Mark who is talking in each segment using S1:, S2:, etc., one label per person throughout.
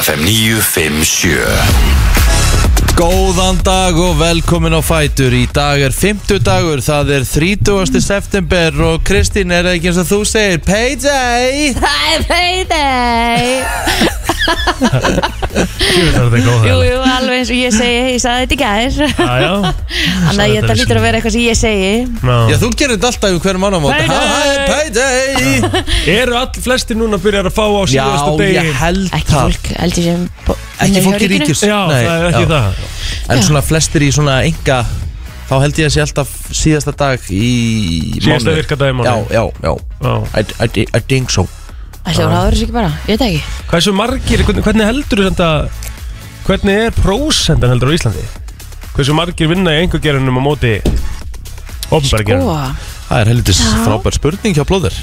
S1: FM 957
S2: Góðan dag og velkomin á Fætur Í dag er 50 dagur, það er 30. september og Kristín er það ekki eins og þú segir Payday
S3: Það er payday
S4: Ég veit að þetta er
S3: Jú,
S4: góð
S2: hérna.
S4: hæli
S3: jú, alveg eins og ég segi Ég sagði þetta í
S2: Ah,
S3: gær
S4: Jájá
S3: Þannig að ég- þetta hlýtur að vera eitthvað sem ég segi
S2: Já, þú gerir þetta alltaf um hverjum annan mót
S4: Payday!
S2: Payday
S4: Eru all flesti núna að byrja að fá á
S2: Já,
S4: síðasta
S2: ég
S4: degi
S2: held
S3: Ekki
S2: það
S3: fólk, heldur sem
S2: Ekki fólk í ríkis
S4: Já,
S2: Nei,
S4: það er ekki
S2: já.
S4: það
S2: En svona flestir í svona enga Þá held ég að sé alltaf síðasta dag í
S4: Síðasta
S2: mánuði.
S4: virkadagur í mánuði.
S2: Já, já, já
S4: Já.
S2: I, I, I think so
S3: Ætli
S2: Ah.
S3: hún áður þessu ekki bara, ég veit það ekki
S4: Hversu margir, hvernig- hvernig heldur þetta Hvernig er prósendan heldur á Íslandi? Hversu margir vinna í einhvergerunum á móti Ofnbergerunum?
S3: Góa
S2: Það er helvitis
S3: Já.
S2: frábær spurning hjá blóður Ég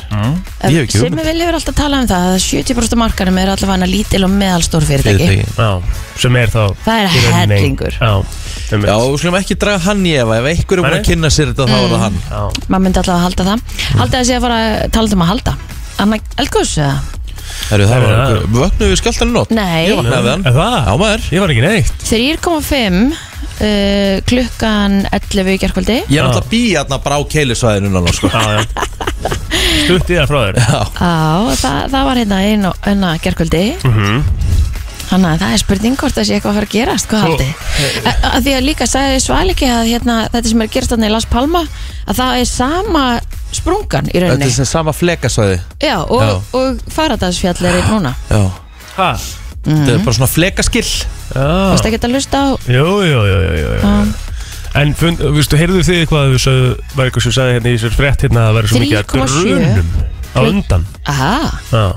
S2: hef ekki
S3: Sem
S2: hugmynd.
S3: við viljum alltaf tala um það að 70% markanum er allavega lítil og meðalstór fyrirtæki
S2: Fyrirtæki.
S4: Já, sem er þá
S3: Það er
S4: í rauninni-
S3: hellingur
S4: Já, um
S2: Já, við skulum ekki draga hann í efa Ef einhver er búin
S4: Nei.
S2: að kynna sér þetta þá er það hann
S4: Já,
S3: Maður myndi allavega að halda það Halda þessi að fara að tala um að halda Anna Elgós eða?
S2: Herru, það var
S4: Herru, það-
S2: einhver Vöknuðu við skjáltanum nótt?
S3: Nei.
S2: Ég vaknaði við hann
S4: Er það?
S2: Já, maður
S4: ég var ekki neitt
S3: 3,5 uh, klukkan 11 í gerkvöldi
S2: Ég er náttúrulega bí hérna bara á keilisvæðinu núna, sko
S4: Já, já Stutt í það frá þér
S3: Á, það, það var hérna einn og önna gerkvöldi
S4: Mhm.
S3: Þannig að það er spurning hvort það sé eitthvað að fara að gerast, hvað
S4: Svo-
S3: haldið? þið? Að- að Því að líka sagði Svaliki að hérna, þetta sem er gerast þarna í Las Palma, að það er sama sprungan í
S2: Þetta
S3: rauninni.
S2: er sem sama flekasvæði Já
S3: Já, og,
S2: Já.
S3: og Faradagsfjall er einn núna.
S4: Ha?
S2: Þetta er bara svona flekaskill
S4: Já
S3: Þú veist ekki að hlusta á...
S4: Jú, jú, jú, jú, jú, jú. En fund, viðstu, heyrðu þið eitthvað að við sögðu, var eitthvað sem sagði hérna í þessar frétt hérna að það væri svo mikið að
S3: 3,7.
S4: grunum á undan
S3: Aha,
S4: Já,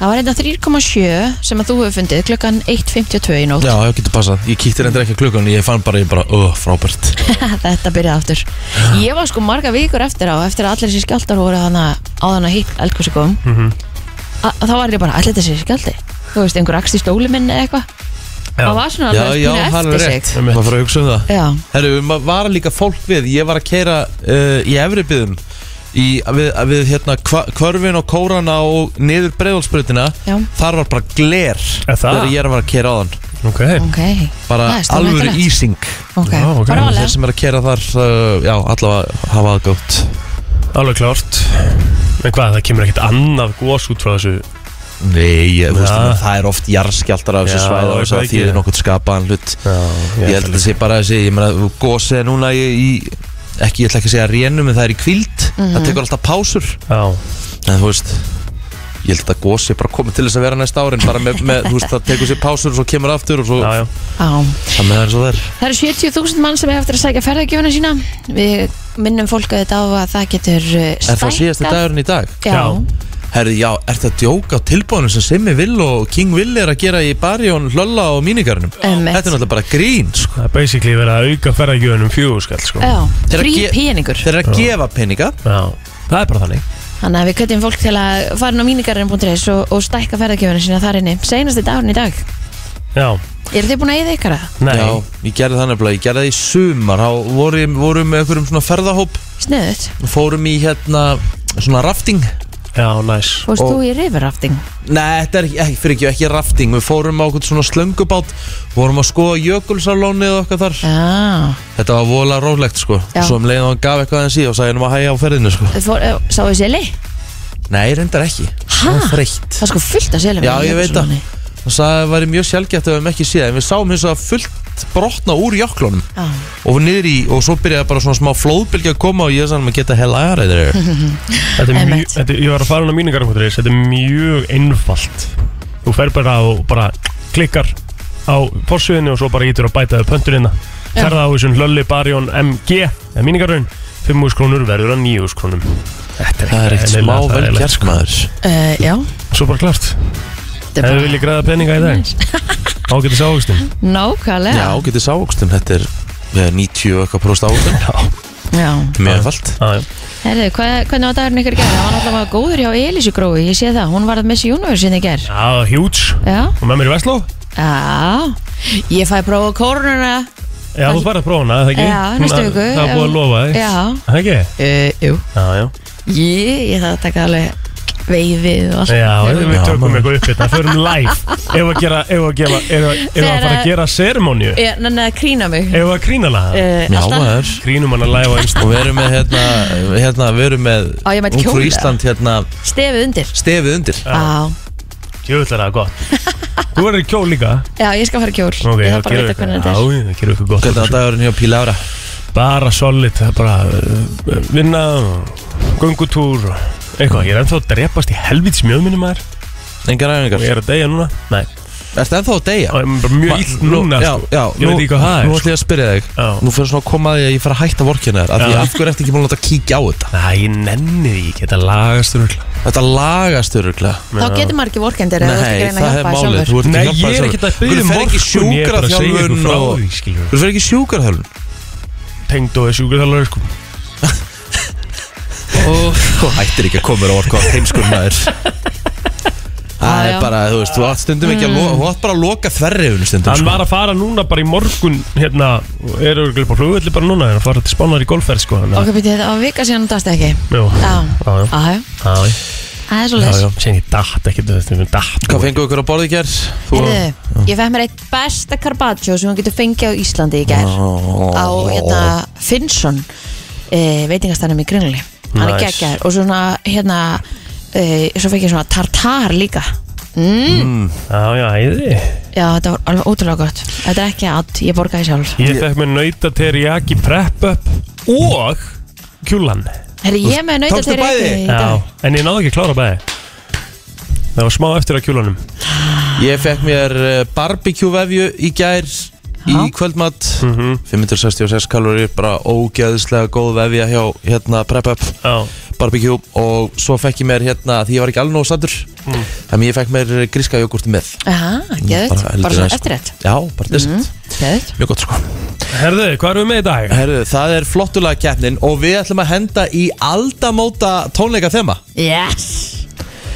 S3: það var hérna 3,7 sem að þú hefur fundið klukkan 1.52 í nótt.
S2: Já, það getur passað Ég kíkti reyndar ekki að klukkan Ég fann bara, ég bara, öh, frábært
S3: þetta byrjaði aftur. Ég var sko marga vikur eftir á, eftir að allir þessi skjaldar voru hana, á þannig að hitt eldkossi kom. Mm Þá var ég bara, allir þessi skjaldi. Þú veist, einhver akst í stóli minn eða eitthvað. Það var svona
S2: Já,
S3: alveg
S2: já,
S3: pínu
S2: hann
S3: eftir
S2: er
S3: sig
S2: rétt Það var að fara að hugsa um það
S3: Já,
S2: Herru, maður var líka fólk við Ég var að keira uh, í Efribyðum í, við, við hérna hva, Kvörfin og Kórana og niður breiðalsbrutina
S3: Já.
S2: Þar var bara gler
S4: Er það?
S2: Þegar ég er að vera að keira á þann
S4: ok
S3: ok
S2: Bara
S3: Það er stórhættulegt.
S2: alvöru ísing
S3: Ok,
S4: Já, ok.
S3: bara
S2: Þannig að
S3: alveg
S2: Þeir sem er að keira þar uh, Já, allavega hafa það gótt
S4: Alveg klárt En hvað, það kemur ekkert annað gós út frá þessu
S2: Nei, ég, þú veist,
S4: Ja.
S2: menn, það er oft jarðskjaldar af þessu
S4: Já,
S2: svæð
S4: er
S2: og
S4: það
S2: það
S4: ekki?
S2: þýðir nokkuð skapaðan hlut
S4: Já,
S2: Ég held að það sé bara þessi, ég meina, gósið er núna í, í ekki, ég ætla ekki að segja rénum en það er í kvíld,
S3: Mhm.
S2: það tekur alltaf pásur
S4: Já,
S2: en þú veist ég held að þetta gósi bara komið til þess að vera næsta árin bara með, með þú veist, það tekur sér pásur og svo kemur aftur og svo,
S4: já, já
S3: Já.
S2: það með það er svo þær
S3: Það eru 70.000 mann sem er eftir að sækja ferðargjöfuna sína Við minnum fólk að þetta á að það getur eh,
S2: Er það síðasti
S3: stækkað.
S2: dagurinn í dag?
S3: Já,
S4: Já.
S2: Herði, já, er þetta djók á tilbúinu sem Simmi Vill og King Will er að gera í Barjón, Lolla og Mínigarnum? Þetta
S3: Einmitt.
S2: er náttúrulega bara grín, sko
S4: Það er basically verið að auka ferðagjöfunum fjögurskall, sko
S3: já,
S2: Þeir eru að
S3: frí
S2: ge-
S3: píningur
S2: Þeir eru að gefa peninga
S4: Já, það er bara þannig
S3: Þannig að við köttum fólk til að fara inn á mínigarinn.is og, og stækka ferðargjöfuna sína þar inni Seinasti dagurinn í dag
S4: Já,
S3: Eru þið búin að eyða ykkar það?
S4: nei
S2: Já, ég gerði það nefnilega, ég gerði það í sumar þá vorum, vorum með einhverjum svona ferðahóp
S3: Sniðut
S2: fórum í hérna svona rafting
S4: Já, næs
S3: Fórst
S2: Og-
S3: þú í riverrafting?
S2: Nei, þetta er ekki, ekki- fyrir ekki, ekki rafting Við fórum á okkur svona slöngubát Vorum að skoða jökulsalónið og okkar þar
S3: Já
S2: Þetta var vola rólegt sko
S3: Já.
S2: Svo um leiðan hann gaf eitthvað en sí og sagði hann að hæja á ferðinu sko
S3: Þið fór- eh, Sáuð seli?
S2: Nei, reyndar ekki
S3: Ha?
S2: Það var þreytt
S3: Það er sko fullt af selum
S2: Já, ég veit það Hann sagði að það væri mjög sjálfgætt ef við hefum ekki séð En við sáum hins vegar fullt brotna úr jöklunum
S3: Já
S2: Og niður í, og svo byrjaði bara svona smá flóðbylgja að koma Og ég sagði hann að geta hell aðra þeir
S4: Þetta er mjög,
S3: Einmitt.
S4: þetta, ég var að fara hún á míningarum.is Þetta er mjög einfalt Þú fer bara og bara klikkar á fórsviðinu og svo bara ítur að bæta þau pöntunina Ferða á þessum hlölli barjón MG eða míningarun 5 úrs krónur verður að 9 úrs krónum Þetta
S2: Það er eitt
S4: eðlilega
S2: smá vel
S4: þægilegt,
S2: gert maður
S3: Uh, já,
S4: sko. Svo bara klart
S3: þetta
S4: Ef við viljið græða peninga í dag Ágætið sá águstin
S3: nákvæmlega
S2: Já, getið sávokstum, þetta er eh, 90 og eitthvað próst ávöxtum
S3: Já.
S2: Mjög fælt
S3: Herðu, hvað, hvernig var dagurinn ykkur í gerð? Það var náttúrulega góður hjá Elísu grói, ég sé það, hún varð Miss Universe sinni í gerð
S4: Já, huge
S3: Já,
S4: Og með mér í Vestló
S3: já, ég fæ prófa kórnuna
S4: Já, þú farið að prófa hana, eða ekki?
S3: Já, næstu
S4: Hún-
S3: viku,
S4: Það er
S2: Eh,
S3: já.
S4: búið að lofa þig
S3: Já.
S4: Það ekki?
S3: uh, Jú,
S4: Já, já
S3: ég, ég þarf að taka alveg veiðið og allt
S4: Já, við
S2: Já,
S4: tökum
S2: maður.
S4: eitthvað upp þetta, förum live Ef að gera, ef að gera, ef að, ef að
S3: Þegar
S4: fara
S3: að-
S4: að gera seremóníu
S3: Ég nenni að krýna mig
S4: Ef að grína laga
S3: Eh,
S2: Já,
S3: alltaf.
S2: maður
S4: Grínum hann að live á Insta
S2: Og við erum með hérna, hérna Við erum með
S3: Á, ég mæti
S2: Ung frú
S3: kjól,
S2: Ísland hérna
S3: Stefið undir
S2: Stefið undir
S3: Já,
S4: Jöfnlega það er gott Þú verður í kjól líka
S3: já, ég skal fara í kjól
S4: Ok,
S3: Ég
S4: það
S3: þarf bara að
S4: gerum
S3: vita
S4: við
S3: hvernig þetta er
S4: Já, það gerum við eitthvað gott
S2: Hvernig var dagurinn hjá Pílára?
S4: Bara solid, það er bara uh, vinna, gungutúr og eitthvað, ég er ennþá að drepast í helvítis mjöðminni maður
S2: Engar
S4: og
S2: æfingar
S4: ég er að deyja núna Nei,
S2: Ertu ennþá að deyja?
S4: það er bara
S2: Ma-
S4: mjög illt
S2: nú-
S4: núna
S2: já,
S4: sko.
S2: já,
S4: Ég veit
S2: nú-
S4: ekki hvað það
S2: Nú
S4: er sko.
S2: ætlum ég að spyrja þig
S4: Já.
S2: Nú fyrir svona að koma að því að ég fara að hætta vorkina þér af Því
S4: Já.
S2: af hverju ertu ekki búin að láta kíkja á þetta
S4: Næ, ég nenni því ekki, þetta lagast um
S2: Þetta lagast öruglega
S3: Þá getur maður ekki vorkendir eða þú ert ekki að
S2: það
S3: reyna að
S2: er
S3: hjálpa þér
S2: málið
S3: sjálfur
S2: Þú ert
S4: Nei,
S2: ekki að hjálpa
S4: ég er
S2: þér
S4: ekkert að
S2: sjálfur.
S4: byrja um
S2: Þú fer ekki
S4: morgun, ég er bara að segja ykkur
S2: sjúkraþjálfun
S4: frá
S2: og
S4: því, skilur.
S2: Þú fer ekki sjúkraþjálfun
S4: Tengd og sjúkraþjálfur, sko.
S2: og þú hættir ekki að koma mér á orku á heimskur maður Það
S3: Ah, já. Mm.
S2: er bara, þú veist, þú átt stundum ekki að loka, þú átt bara að loka þverrifun stundum sko.
S4: Hann var að fara núna bara í morgun, hérna, og er auðvitað upp á flugvelli bara núna, hann fara til spánar í golfferð, sko. Þannig,
S3: Ok, býtti þetta á vika síðan og dast ekki
S4: Jú,
S3: Já,
S4: já, já,
S3: já, já,
S4: já, já,
S3: það er svo
S4: já,
S3: les
S4: já, sem ég datt ekki, þetta er mjög datt.
S2: Hvað fengu ykkur á borði í gerð?
S3: Heyrðu, ég fekk mér eitt besta carpaccio sem hún getur fengið á Íslandi í gær á hérna Finnsson e, veitingastænum í Grinli hann er
S4: Nice.
S3: geggjær og svona hérna e, svo fekk ég svona tartar líka mm.
S4: Já, já, æði.
S3: já þetta var alveg ótrúlega gott þetta er ekki að ég borgaði sjálf
S4: Ég fekk mér nauta teriyaki prep up og kjúlan.
S3: herri ég er með nauta
S2: tókstu bæði?
S3: í
S4: Já,
S3: dag
S4: en ég náði ekki að klára bæði. Það var smá eftir að kjúlanum.
S2: Ég fekk mér eh, barbecue vefju í gær í kvöldmatt
S4: Mhm.
S2: 566 kalorir, bara ógeðslega góð vefja hjá hérna prep up
S4: Já,
S2: barbecue og svo fekk ég mér hérna því ég var ekki alveg nóg sattur
S4: Mm.
S2: þannig ég fekk mér eh, gríska jogurti með
S3: Aha, geðut,
S2: Bara
S3: bara,
S2: heldur
S3: svona Mhm.
S2: næs, sko.
S3: eftirrætt
S2: Já, bara dessert
S3: Geðut
S2: Mjög gott sko
S4: herðu, hvað erum við með í dag?
S2: Herðu, það er flottulega keppnin og við ætlum að henda í aldamóta tónleika þema
S3: Yes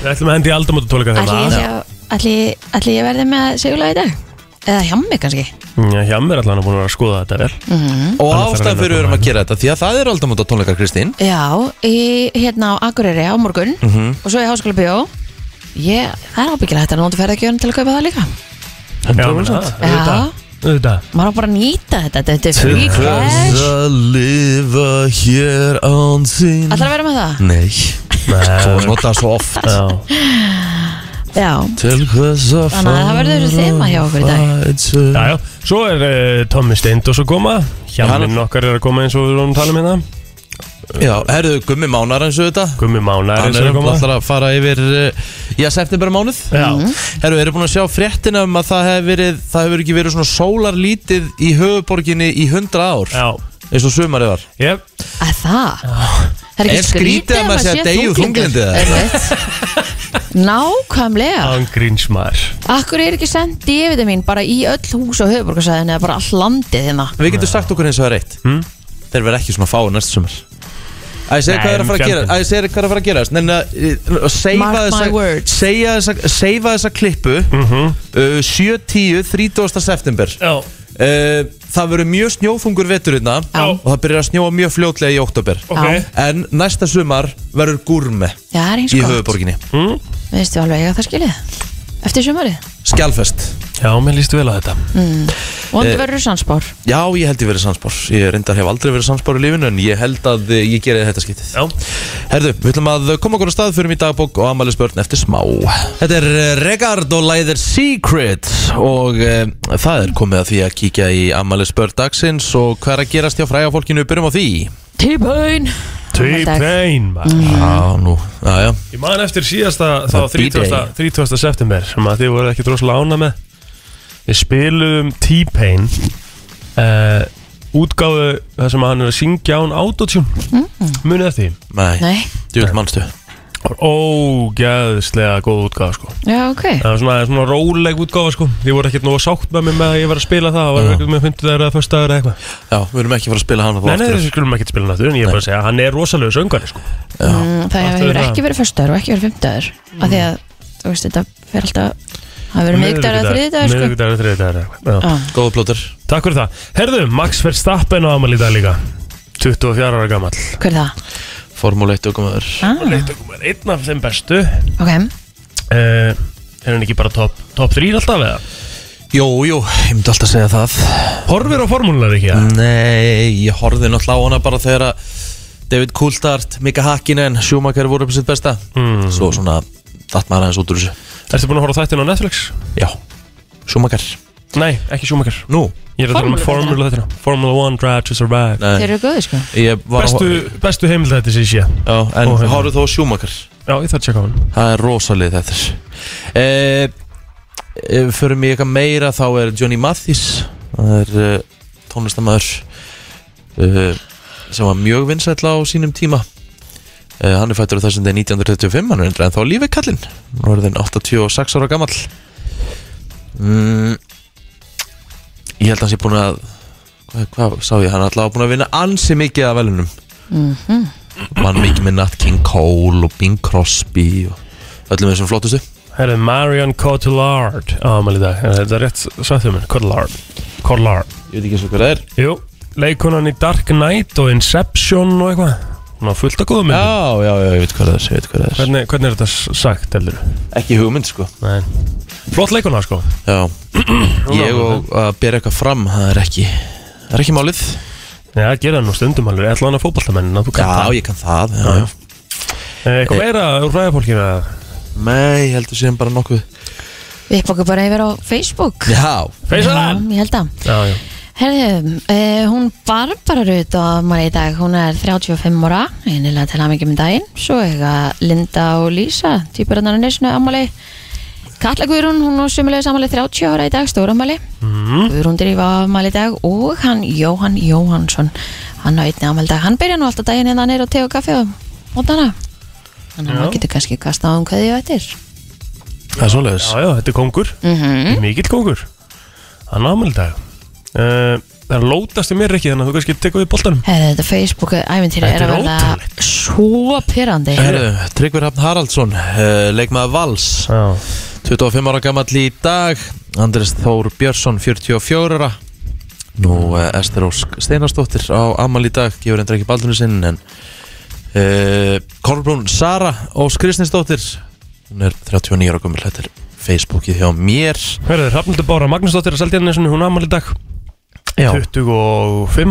S4: Við ætlum að hendi aldamóta tóleika þeim
S3: Ætli ég, sjá- ætli- ætli ég verði með segulega í dag Eða hjá mig kannski
S4: Já, hjá mér allan er búin að vera að skoða þetta
S3: Mm.
S4: vel
S2: og
S4: Þannig þarf að
S2: ástæðan fyrir við
S4: reyna að
S2: erum
S4: koma
S2: að gera þetta því að það er aldamóta tónleika Kristín
S3: Já, í, hérna á Akureyri á morgun
S2: Mhm.
S3: Og svo í Háskóla Bíó Ég, það er ábyggilegt að náttu ferðargjöðan til að kaupa það líka
S4: Já, menn það,
S3: Já.
S4: auðvitað, auðvitað
S3: Maður á bara að nýta þetta, þetta er free cash
S2: að lifa hér án sín
S3: Ætlar að vera með það?
S2: Nei, þú
S4: Nei,
S2: nota það svo oft
S4: já.
S3: Já,
S2: Til hvers að
S3: Þannig að það verður
S2: fara
S3: þema hjá okkur í dag.
S4: já,
S2: fætur.
S4: já, svo er uh, Tommi Steindos að koma Hjálminn okkar er að koma eins og við erum að tala um hérna
S2: Já, herðu, gummi mánar eins og þetta
S4: Gummi Mánar
S2: Hann
S4: er
S2: er
S4: að koma
S2: alltaf að fara yfir uh, Já, september mánuð
S4: Já,
S3: Mhm.
S2: Herru, erum búin að sjá fréttina um að það hefur verið Það hefur ekki verið svona sólarlítið í höfuborginni í 100 ár
S4: já,
S2: eins og sumarið var
S4: ég
S3: að það Það er
S2: Er
S3: ekki
S2: skrítið
S3: skrítið
S2: að
S3: að
S2: maður sé að deyja úr þunglyndi, eða?
S3: þunglindi Nákvæmlega
S4: angrinsmar
S3: Akkur er ekki sendt dividi mín bara í öll hús og höfuborgarsæðin eða bara all landið hérna
S2: Við getum sagt okkur eins og það er eitt
S4: Hmm?
S2: Þeir verða ekki svona fáið næsta sumar Æ, segja
S4: Nei, um
S2: hvað er að fara að
S4: fjandinn.
S2: gera Æ, segja hvað er að fara að gera Nenna, uh, seifa
S3: Mark my
S2: þessa
S3: words.
S2: Segja þessa Seifa þessa klippu mm -hmm. uh, 7.10, 30. september
S4: Mhm. Já,
S2: uh, Það verður mjög snjóþungur veturina
S3: Já.
S2: Og það byrjar að snjóa mjög fljótlega í oktober
S4: ok
S3: Já.
S2: En næsta sumar verður gúrme
S3: Já, það er eins
S2: Í
S3: gott
S2: höfuborginni
S4: mm?
S3: Við veistu alveg að það skilið Eftir sumarið
S2: Eh. Skjálfest
S4: Já, mér líst vel á þetta
S3: Vondi
S2: Eh,
S3: verður sannspár
S2: Já, ég held ég verið samspár Ég reyndar hef aldrei verið samspár í lífinu En ég held að eh, ég geri þetta skiptið
S4: Já,
S2: Herðu, við ætlum að koma okkur á stað Fyrir í dagbók og ammælisbörn eftir smá Þetta er eh, Regard og Læðir Secret Og e, það er komið að því að kíkja í ammælisbörn dagsins Og hvað er að gerast hjá fræga fólkinu Byrjum á því
S3: T-Pain
S4: T-Pain
S3: Mm.
S4: maður
S2: Já, nú, já, já
S4: Ég man eftir síðasta þá
S2: Það er
S4: 30. 30. september sem að þið voru ekki droslega ána með Við spilum T-Pain uh, útgáfu það sem hann er að syngja án autotune
S3: Mm.
S4: munið eftir því
S2: Nei,
S3: Nei,
S2: djúl mannstu
S4: Það var ógeðslega góð útgáfa sko
S3: já ok
S4: það var svona, svona róleg útgáfa sko þið voru ekkert nú að sátt með mig með að ég var að spila það það var
S2: Já.
S4: ekkert með 50 dagur eða 1. dagur eða eitthvað
S2: Já, við erum ekki að fara að spila hana þá
S4: Nei, nei,
S2: aftur.
S4: þessu skulum ekki spila náttúrulega en ég er bara að segja að hann er rosalega söngari sko
S3: Mm, Það
S4: Aftur
S3: hefur
S4: það.
S3: ekki verið föstudagur og ekki verið fymtudagur Af því að, þú veist, þetta fer alltaf Það hefur verið miðvikdagur eða sko. þriðdagur sko
S4: Miðvikudagur eða þriðdagur eða eitthvað Já.
S3: Já.
S2: Góðu plótur
S4: Takk fyrir það. Herðu, Max Verstappen á amal í dag líka. 24 ára gammal.
S3: Hver er það?
S2: Formule 1 aukumöður
S3: ah,
S4: Leitt okkur með einn af þeim bestu uh,
S3: Ok,
S4: Eh, Er hann ekki bara top, top 3 alltaf eða?
S2: Jú, jú, ég myndi alltaf að segja það
S4: Horfir á formúlunar ekki eða?
S2: Nei, ég horfði náttúrulega á hana bara þegar að David Coulthard, Mika Hakkinen, Schumacher voru upp sitt besta
S4: Mm.
S2: Svo svona, datt maður aðeins út úr þessu
S4: Ertu búin að horfa á þættin á Netflix?
S2: Já, Schumacher
S4: Nei, ekki Schumacher
S2: Nú,
S4: Ég er að tala um formúlu þættina Formula 1 Drive to Survive
S3: þeir
S2: nei,
S3: eru góðir sko
S2: ég var
S4: Bestu,
S2: að
S4: bestu heimildætti sem ég sé
S2: Já, en
S4: Óhefni.
S2: horfðu þó á Schumacher
S4: Já, ég þarf að tjekka á hann
S2: Það er rosalið þetta eh, eh, Fyrir mig eitthvað meira þá er Johnny Mathis Það er eh, tónlistamæður eh, sem var mjög vinsæll á sínum tíma eh, Hann er fættur á þessum degi 1935 hann er reyndar en þá lífið kallinn Nú er þinn 86 ára gamall mm, Ég held að hans ég búin að hvað, hvað sá ég, hann er alltaf búin að vinna ansi mikið af velunum Vann mikið með Nat King Cole og Bing Crosby og öllum þessum flottustu
S4: Herðu, Marion Cotillard Á, maður í dag, Er þetta er rétt sættum minn Cotillard Cotillard
S2: Ég veit ekki eins og hver það er
S4: Jú, leikonan í Dark Knight og Inception og eitthvað Hún á fullt að góða myndum
S2: Já, já, já, ég veit hvað það er, ég veit hvað það er
S4: hvernig, hvernig er þetta s- sagt, heldur?
S2: Ekki hugmynd, sko
S4: Nei Flott leikona, sko
S2: Já, ég og að bera eitthvað fram, það er ekki Það er ekki málið
S4: Já, það gerir það nú stundum alveg Ætla hann að fótballtamennin, þú
S2: Já,
S4: kannt
S2: ég kann það já,
S4: Já,
S2: já.
S4: það Eitthvað meira úr ræðafólkina
S2: Nei, ég heldur síðan bara nokkuð
S3: Við upp okkur bara yfir á Facebook
S2: Já,
S4: Feysaðan!
S3: Já, Ég held að
S4: Já, já
S3: Herðu, uh, hún Barbara Rut á maður í dag, hún er 35 ára, einilega til hamingjum í daginn, svo eiga Linda og Lísa, týpurannar á nesinu ammali, Katla Guðrún, hún á sumulega sammali 30 ára í dag, stóra ammali, mm.
S4: Mhm.
S3: Guðrún drífa ammali í dag og hann Jóhann Jóhannsson, hann á einni ammali dag, hann byrja nú alltaf daginn en hann er á te og kaffi og mótana, þannig að
S4: Já.
S3: maður getur kannski kastað á um hvað því eftir.
S2: það er svoleiðis
S4: Já, já, þetta er kongur
S3: Mm -hmm.
S4: Mikill kongur Hann ámæli dag uh, Það er lótast í mér ekki þannig að þú kannski tekur við boltanum
S3: Herðu, þetta Facebook ævintýri
S4: Þetta
S3: er að
S4: er
S3: verða
S4: ótrúlegt.
S3: svo pyrrandi.
S2: Herðu, Tryggvir Hafn Haraldsson, uh, leikmaður Vals
S4: Já
S2: 25 ára gamall í dag Andrés Þór Björnsson, 44 ára Nú uh, Ester Ósk Steinarsdóttir á Amal í dag Ég verður endur ekki baldunni sinn En uh, Kolbrún Sara Ósk Kristinsdóttir Hún er 39 ára gömul Þetta er Facebookið hjá mér
S4: Hörðu, Rafnildur Bára Magnúsdóttir að Seldjarnesunni, hún ammali dag
S2: Já.
S4: 25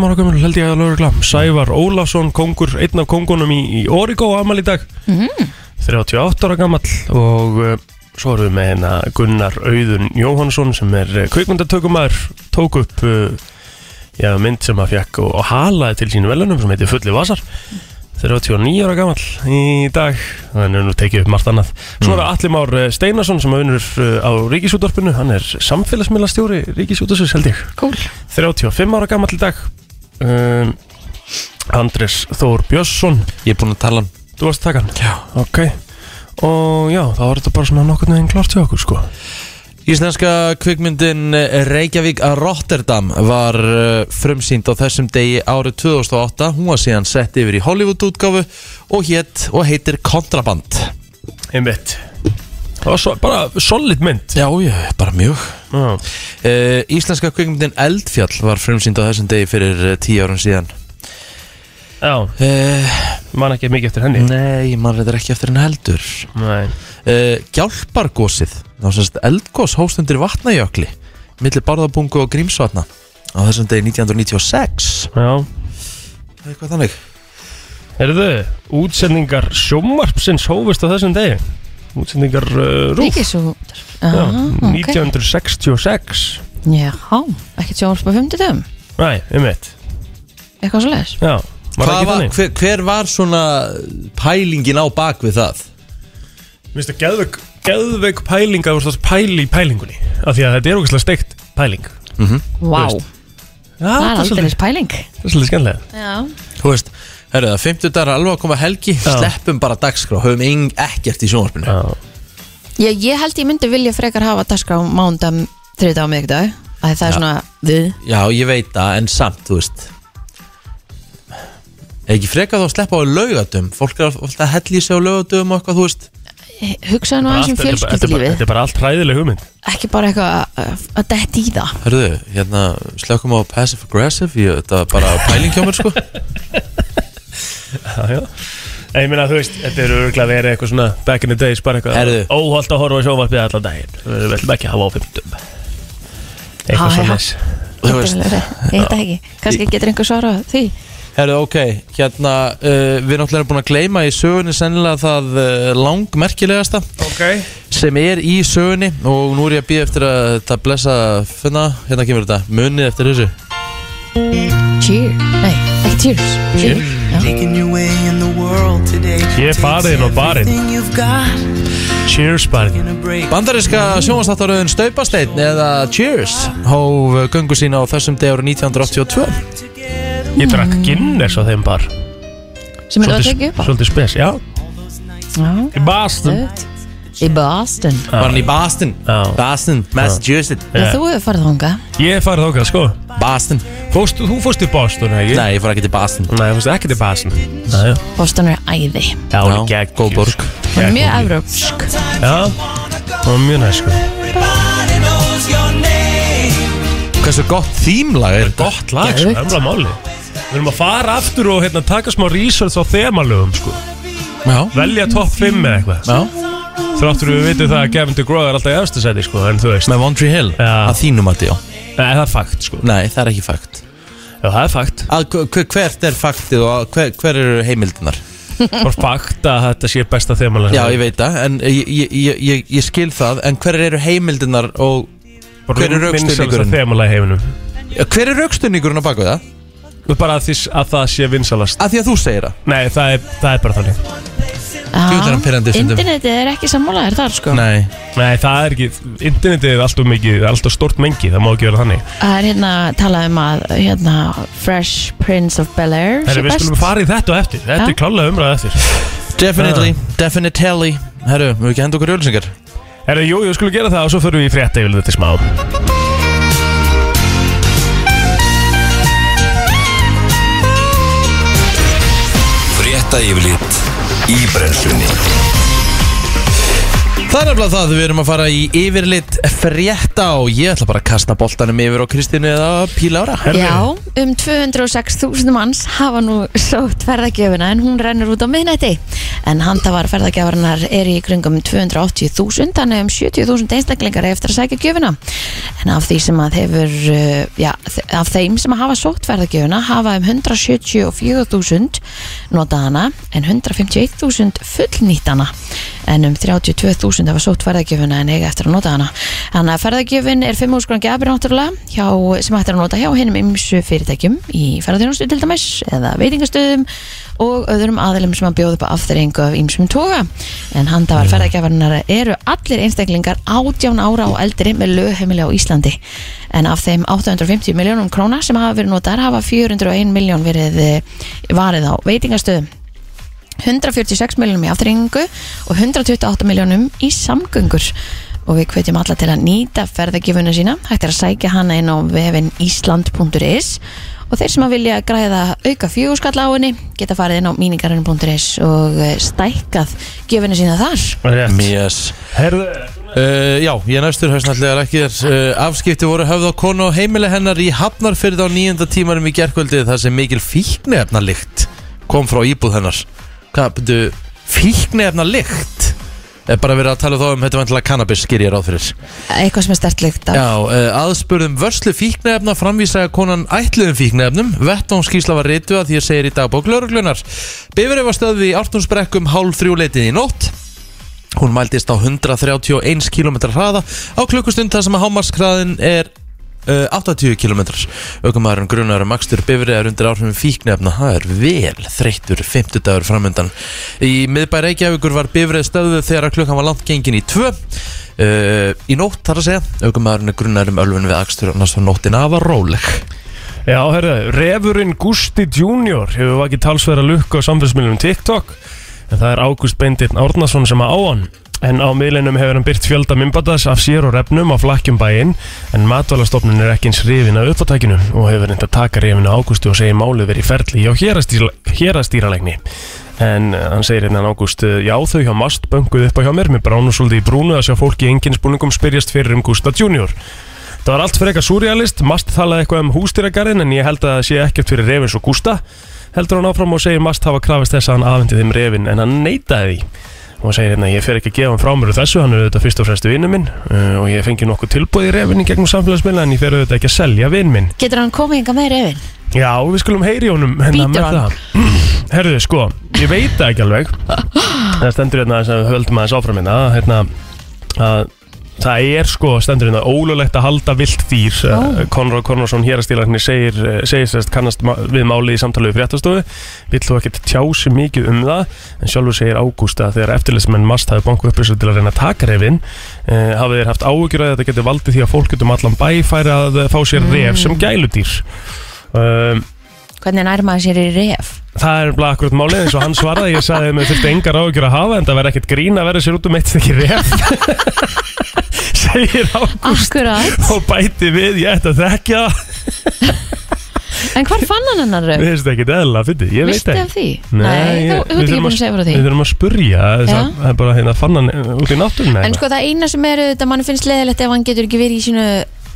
S4: ára gömul held ég að lögregla Sævar Ólafsson, kongur, einn af kongunum í, í Origo ammali dag mm. 38 ára gamall og uh, svo erum við með hérna Gunnar Auðun Jóhansson sem er uh, kvikmyndatökumar tók upp uh, já, mynd sem að fekk og, og halaði til sínum velunum sem heitir Fulli Vasar 39 ára gamall í dag þannig er nú tekið upp margt annað svo er það Alli Már eh, Steinarsson sem er vinnur eh, á Ríkisútvarpinu, hann er samfélagsmiðlastjóri Ríkisútvarpsins held ég
S3: Cool.
S4: 35 ára gamall í dag um, Andrés Þór Björnsson
S2: Ég er búinn að tala um hann
S4: þú varst að taka hann
S2: Já.
S4: ok og já, þá var þetta bara svona nokkurn veginn klart hjá okkur sko
S2: Íslenska kvikmyndin eh, Reykjavík að Rotterdam var eh, frumsýnd á þessum degi árið 2008. Hún var síðan sett yfir í Hollywood útgáfu og, hét, og heitir Kontraband.
S4: einmitt það var svo, bara solid mynd
S2: Já, ég, bara mjög.
S4: já,
S2: Uh, íslenska kvikmyndin Eldfjall var frumsýnd á þessum degi fyrir uh, tíu árum síðan.
S4: já
S2: Uh,
S4: man ekki mikið eftir henni
S2: nei, maður reyndar ekki eftir henni heldur.
S4: Nei.
S2: Uh, Gjálpargósið, þá semst eldgós hóst undir vatnajökli, millir barðabungu og grímsvatna á þessum degi 1996.
S4: já
S2: Eitthvað þannig.
S4: Herðu, útsendingar sjómarpsins hófust á þessum degi Útsendingar uh, rúf
S3: Ríkis og
S4: Já,
S3: ah, ok.
S4: 1966
S3: Já, ekkert sjónvarp á 50 dögum
S4: Næ, um eitt
S3: Eitthvað svo leiðis
S4: Já, var það
S2: Hvað
S4: ekki
S2: var,
S4: þannig?
S2: hver, hver var svona pælingin á bak við það?
S4: Mér finnst það geðveik, geðveik pæling að þú veist að pæli í pælingunni Af því að þetta er ógeðslega steikt pæling
S3: Vá,
S4: Þú Já,
S3: það er
S4: þetta er
S3: aldrei
S4: svolítið,
S3: spæling
S4: þetta er svolítið skemmlega
S3: Já,
S2: Þú veist, herru það, 50 dagar alveg að koma helgi, sleppum bara dagskrá, höfum eng, ekkert í sjónvarpinu.
S4: Já,
S3: ég, ég held ég myndi vilja frekar hafa dagskrá mándam þriðdag og miðvikdag að það er svona við
S2: Já, ég veit það, en samt, þú veist. Er Ekki frekar þá að sleppa á laugatum, fólk er alltaf að helli sig á laugatum og eitthvað, þú veist.
S3: hugsaðu nú
S4: Bara allt-
S3: aðeins um
S4: þetta er bara- þetta er bara-
S3: fjölskyldulífið
S4: Þetta er bara allt hræðileg hugmynd
S3: ekki bara eitthvað að- að- að detti í það
S2: Herru, hérna, slökum á passive aggressive, ég, þetta er bara pæling hjá mér, sko.
S4: Já, já En ég meina, þú veist, þetta eru örgulega verið eitthvað svona back in the days, bara eitthvað
S2: Herðu.
S4: óholt að horfa í sjónvarpið allan daginn við viljum ekki hafa á fimmtum
S3: Ha,
S4: eitthvað
S3: ha.
S4: svona
S2: Þú veist.
S3: Ég veit það ekki, kannski getur einhver svarað því
S2: Herðu, ok, hérna, uh, við náttúrulega erum búin að gleyma í sögunni sennilega það uh, langmerkilegasta
S4: Ok,
S2: sem er í sögunni og nú er ég að býja eftir að þetta blessa finna, hérna kemur þetta, munið eftir þessu.
S3: Cheers, nei, ekki cheers Cheers, já
S4: Ég er farinn og barinn. cheers barinn
S2: Bandaríska sjónvastáttaröðun Staupasteinn eða Cheers hóf uh, göngu sína á þessum degur 1982.
S4: Ég drakk Guinness á þeim bar
S3: Sem er það að tekja
S4: Svolítið
S3: upp á
S4: svolítið spes, já um.
S3: Já,
S4: Í Boston
S3: stöðugt. Í Boston
S2: Var hann í Boston?
S4: Já.
S2: Boston, Massachusetts,
S3: Já, þú hefur farið þangað
S4: Ég er farið þókað, sko
S2: Boston.
S4: Fóst, Þú fórst í Boston, ekki?
S2: Nei, ég fór ekki til Boston.
S4: Nei, þú fórst ekki til Boston Nei, já.
S3: Boston er æði
S4: já, hún er
S2: Já,
S4: gegg
S2: góð borg.
S3: Hún er Mjög evrópsk
S4: Já, hún er mjög næst, sko
S2: Hversu gott þýmlag er þetta?
S4: Gott lag, sko,
S3: Geðveikt.
S4: ömla máli Við erum að fara aftur og hérna, taka smá research á þemalögum sko.
S2: Já,
S4: Velja topp 5 eða eitthvað
S2: já.
S4: Þráttur við vitum það að Gavin DeGraw er alltaf í efstu seti sko, En þú veist Nei,
S2: Með One Tree Hill,
S4: Já.
S2: að þínum að já.
S4: það er fakt sko.
S2: Nei, það er ekki fakt.
S4: Já, það er fakt
S2: að, hver, hvert er faktið og að, hver, hver eru heimildunar
S4: Bara fakt að þetta sé besta þemalög
S2: Já, ég veit það, en ég, ég, ég, ég, ég skil það En hver eru heimildunar og hver er rökstuðningurinn?
S4: Þemalög heiminum
S2: Hver er raukstunningur á baku það?
S4: Bara að, því, að það sé vinsalast
S2: Af því að þú segir það
S4: Nei, það er, það er bara þannig
S2: Djöfull er hann
S3: Já,
S2: pirrandi stundum.
S3: Internetið er ekki sammálaðir þar sko
S2: Nei
S4: Nei, það er ekki Internetið er alltaf mikið, alltaf stort mengi Það má ekki vera þannig
S3: Það er hérna talað um að hérna, Fresh Prince of Bel-Air
S4: Herri,
S3: sé
S4: við
S3: best.
S4: skulum fara í þetta og eftir
S3: Já.
S4: Þetta er klálega umræða eftir
S2: Definitely, definitely Herru, við ekki henda okkur jölusingar
S4: Herri, jú, jú, skulum gera það og svo förum við í frétta yfir þetta smá
S1: Frétta yfirlit í brenslunni
S2: Það er nefnilega það, við erum að fara í yfirlit frétta og ég ætla bara að kasta boltanum yfir á Kristínu eða Pílára
S4: Herri,
S3: Já, um 206.000 manns hafa nú sótt ferðagjöfuna en hún rennur út á miðnætti. En handhafar ferðagjöfarnar er í kringum 280.000, þannig um 70.000 einstaklingar eiga eftir að sækja gjöfuna. En af, því sem að hefur, uh, já, þe- af þeim sem hafa sótt ferðagjöfuna hafa um 174.000 notað hana en 151.000 fullnýtt hana. En um 32.000 hafa sótt ferðagjöfuna en eiga eftir að nota hana. Þannig að ferðagjöfin er 5 úrskrangi afbyrð náttúrulega hjá, sem hægt er að nota hjá hinnum ymsu fyrirtækjum í ferðarþjónustu til dæmis eða veitingastöðum og öðrum aðilum sem að bjóða upp á afturrengu af ymsum toga. En handafar ferðagjöfarnar eru allir einstaklingar 18 ára og eldri með lögheimili á Íslandi. En af þeim 850 miljónum króna sem hafa verið notaðar hafa 401 miljón verið eh, varið á veitingastöðum. 146 miljónum í aftreyningu og 128 miljónum í samgöngur og við hvetjum alla til að nýta ferðagjöfuna sína, hægt er að sækja hana inn á vefin island.is og þeir sem að vilja græða auka fjögurskall á henni geta farið inn á míningarinn.is og eh, stækkað gjöfuna sína þar
S4: Rétt.
S2: Yes
S4: Herðu,
S2: Uh, já, ég næstur hausnallega ekki þér uh, Afskipti voru höfð á konu og heimili hennar í Hafnarfyrð á nýjunda tímarum í gerkvöldi þar sem mikil fíknefnalikt kom frá íbúð hennar Hvað, betu, fíknefnalikt? Er bara verið að tala þá um þetta vantilega cannabis skýr ég ráð fyrir
S3: eitthvað sem er stertlugt af
S2: Já, uh, aðspurðum vörslu fíknefna framvísaði konan ætluðum fíknefnum Vettámskísla var reytu að því að segir í dagbók lauruglunar Bifrið var stöðið í Ártúnsbrekkum hálf þrjú leitið í nótt Hún mæltist á 131 km hraða á klukkustund þar sem að hámarskraðin er uh, 80 km Ökumæðurinn grunar um akstur bifrið er undir áhrifum fíknefna Það er vel þreyttur 50 dagur framöndan Í miðbæ Reykjavíkur var bifrið stöðuð þegar að klukkan var langt gengin í 2 uh, Í nótt þar að segja Ökumæðurinn er grunar um ölfun við akstur annars var nóttin af að róleg
S4: já, herðu, refurinn Gusti Junior hefur vakið talsverða lukku á samfélsmiðlunum TikTok en það er Ágúst Benditn Árnason sem að á hann en á miðlinum hefur hann byrt fjölda mymbadaðs af sér og refnum á flakkjum bæinn en matvælastofnun er ekki eins rifin af uppfattakinu og hefur reynd að taka rifin á Ágústu og segir málið verið í ferli hjá hérastýra- hérastýralækni En eh, hann segir hérna Ágúst eh, Já þau hjá Mast bönguð upp á hjá mér með bránusúldi í brúnu að sjá fólki í enginsbúningum spyrjast fyrir um Gústa Junior Það var allt fyrir eitthvað surrealist, Mast talaði eitthvað um hústýragarinn en ég held að það sé ekkert fyrir Revins og Gústa heldur hann áfram og segir Mast hafa krafist þess að hann afhendi þeim refin en hann neytaði því og hann segir hérna ég fer ekki að gefa hann frá mér úr þessu hann er auðvitað fyrst og fremst vinnu minn uh, og ég fengi nokkuð tilbúið í refin í gegnum samfélagsmiðla en ég fer auðvitað ekki að selja vinn minn
S3: Getur hann komið hinga með reyfin?
S4: Já, við skulum heyri honum hérna
S3: Bítur hann.
S4: Herðu, sko, ég veit það ekki alveg Það stendur hérna þess að við höldum aðeins áfram hérna að, hérna að það er sko stendur hérna ólulegt að halda vilt dýr oh. Konrad Konradsson hérastílarni segir segist þess kannast ma- við málið í samtali við fréttastofu vill þú ekkert tjá sér mikið um það en sjálfur segir Ágústa að þegar eftirlismenn mast hafi banku upplýsum til að reyna að taka refin eh, hafi þeir haft áhugjur að þetta geti valdið því að fólk getum allan bæ færi að eh, fá sér ref sem gæludýr um,
S3: Hvernig nærma hann sér í reyf?
S4: Það er bara akkurat málið eins og hann svaraði Ég sagði að mér þurfti engar áhyggjur að hafa En það verði ekkert grín að verða sér út um eitt ekki ref Segir á
S3: Akkurat
S4: og bæti við Ég ætti að þekkja það.
S3: En hvar fann hann hennar
S4: Mér
S3: reyf?
S4: finnst það ekki eðla fyndi Ég veit
S3: Vistu
S4: það
S3: af
S4: ekki
S3: því?
S4: Nei,
S3: Nei, þú þú
S4: ég-
S3: ert
S4: við
S3: ekki búin
S4: þurfum að-
S3: að segja frá því
S4: Við þurfum að spurja
S3: Já.
S4: Það það er bara hérna fann hann út í náttúrunni
S3: En
S4: eða?
S3: sko það eina sem er þetta mann finnst leðilegt ef hann getur ekki verið í sínu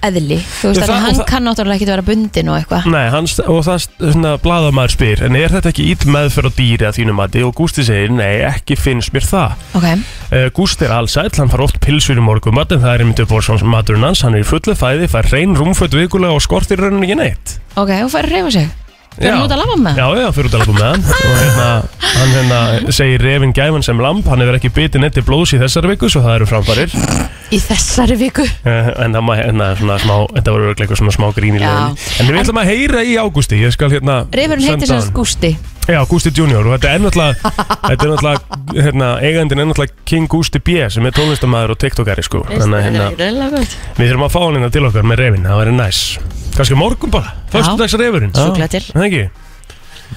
S3: eðli Þú
S4: Já,
S3: veist
S4: það-
S3: að hann
S4: það-
S3: kann náttúrulega ekki vera bundin og eitthvað
S4: Nei, hans, og það st- svona bladamaður spyr En er þetta ekki ít meðferð á dýri að þínum mati Og Gústi segir, nei, ekki finnst mér það
S3: Ok,
S4: Uh, Gústi er allsæll, hann far oft pilsur í morgumat en það er einmitt upp á svona maturinn hans hann er í fullu fæði, fær reyn rúmföt vikulega og skortir raunin ekki neitt
S3: ok, og fær að reyfa sig Fyrir
S4: Já.
S3: hann út að lafa með
S4: Já, já, fyrir út að lafa með hann og hérna, hann hérna segir refin gæfan sem lamp, hann hefur ekki bitið neitt í blóðs í þessari viku, svo það eru framfarir uh,
S3: Í þessari viku
S4: en það maður, hérna, svona smá þetta voru örugglega eitthvað svona smá grín í
S3: Já.
S4: leiðinni en við ætlum að heyra í Ágústi, ég skal hérna
S3: Reyfurinn heitir
S4: senda
S3: sem sagt
S4: hann.
S3: Gústi
S4: Já, Gústi Junior og þetta er náttúrulega, þetta er náttúrulega, hérna, eigandinn er náttúrulega King Gústi B sem er tónlistamæður og tiktokari sko, þannig að hérna
S3: Súkla
S4: Við þurfum að fá hann hérna til okkar með reyfin, það væri næs Kanski morgun bara, fyrstudags reyfurinn
S3: til
S4: Það ekki?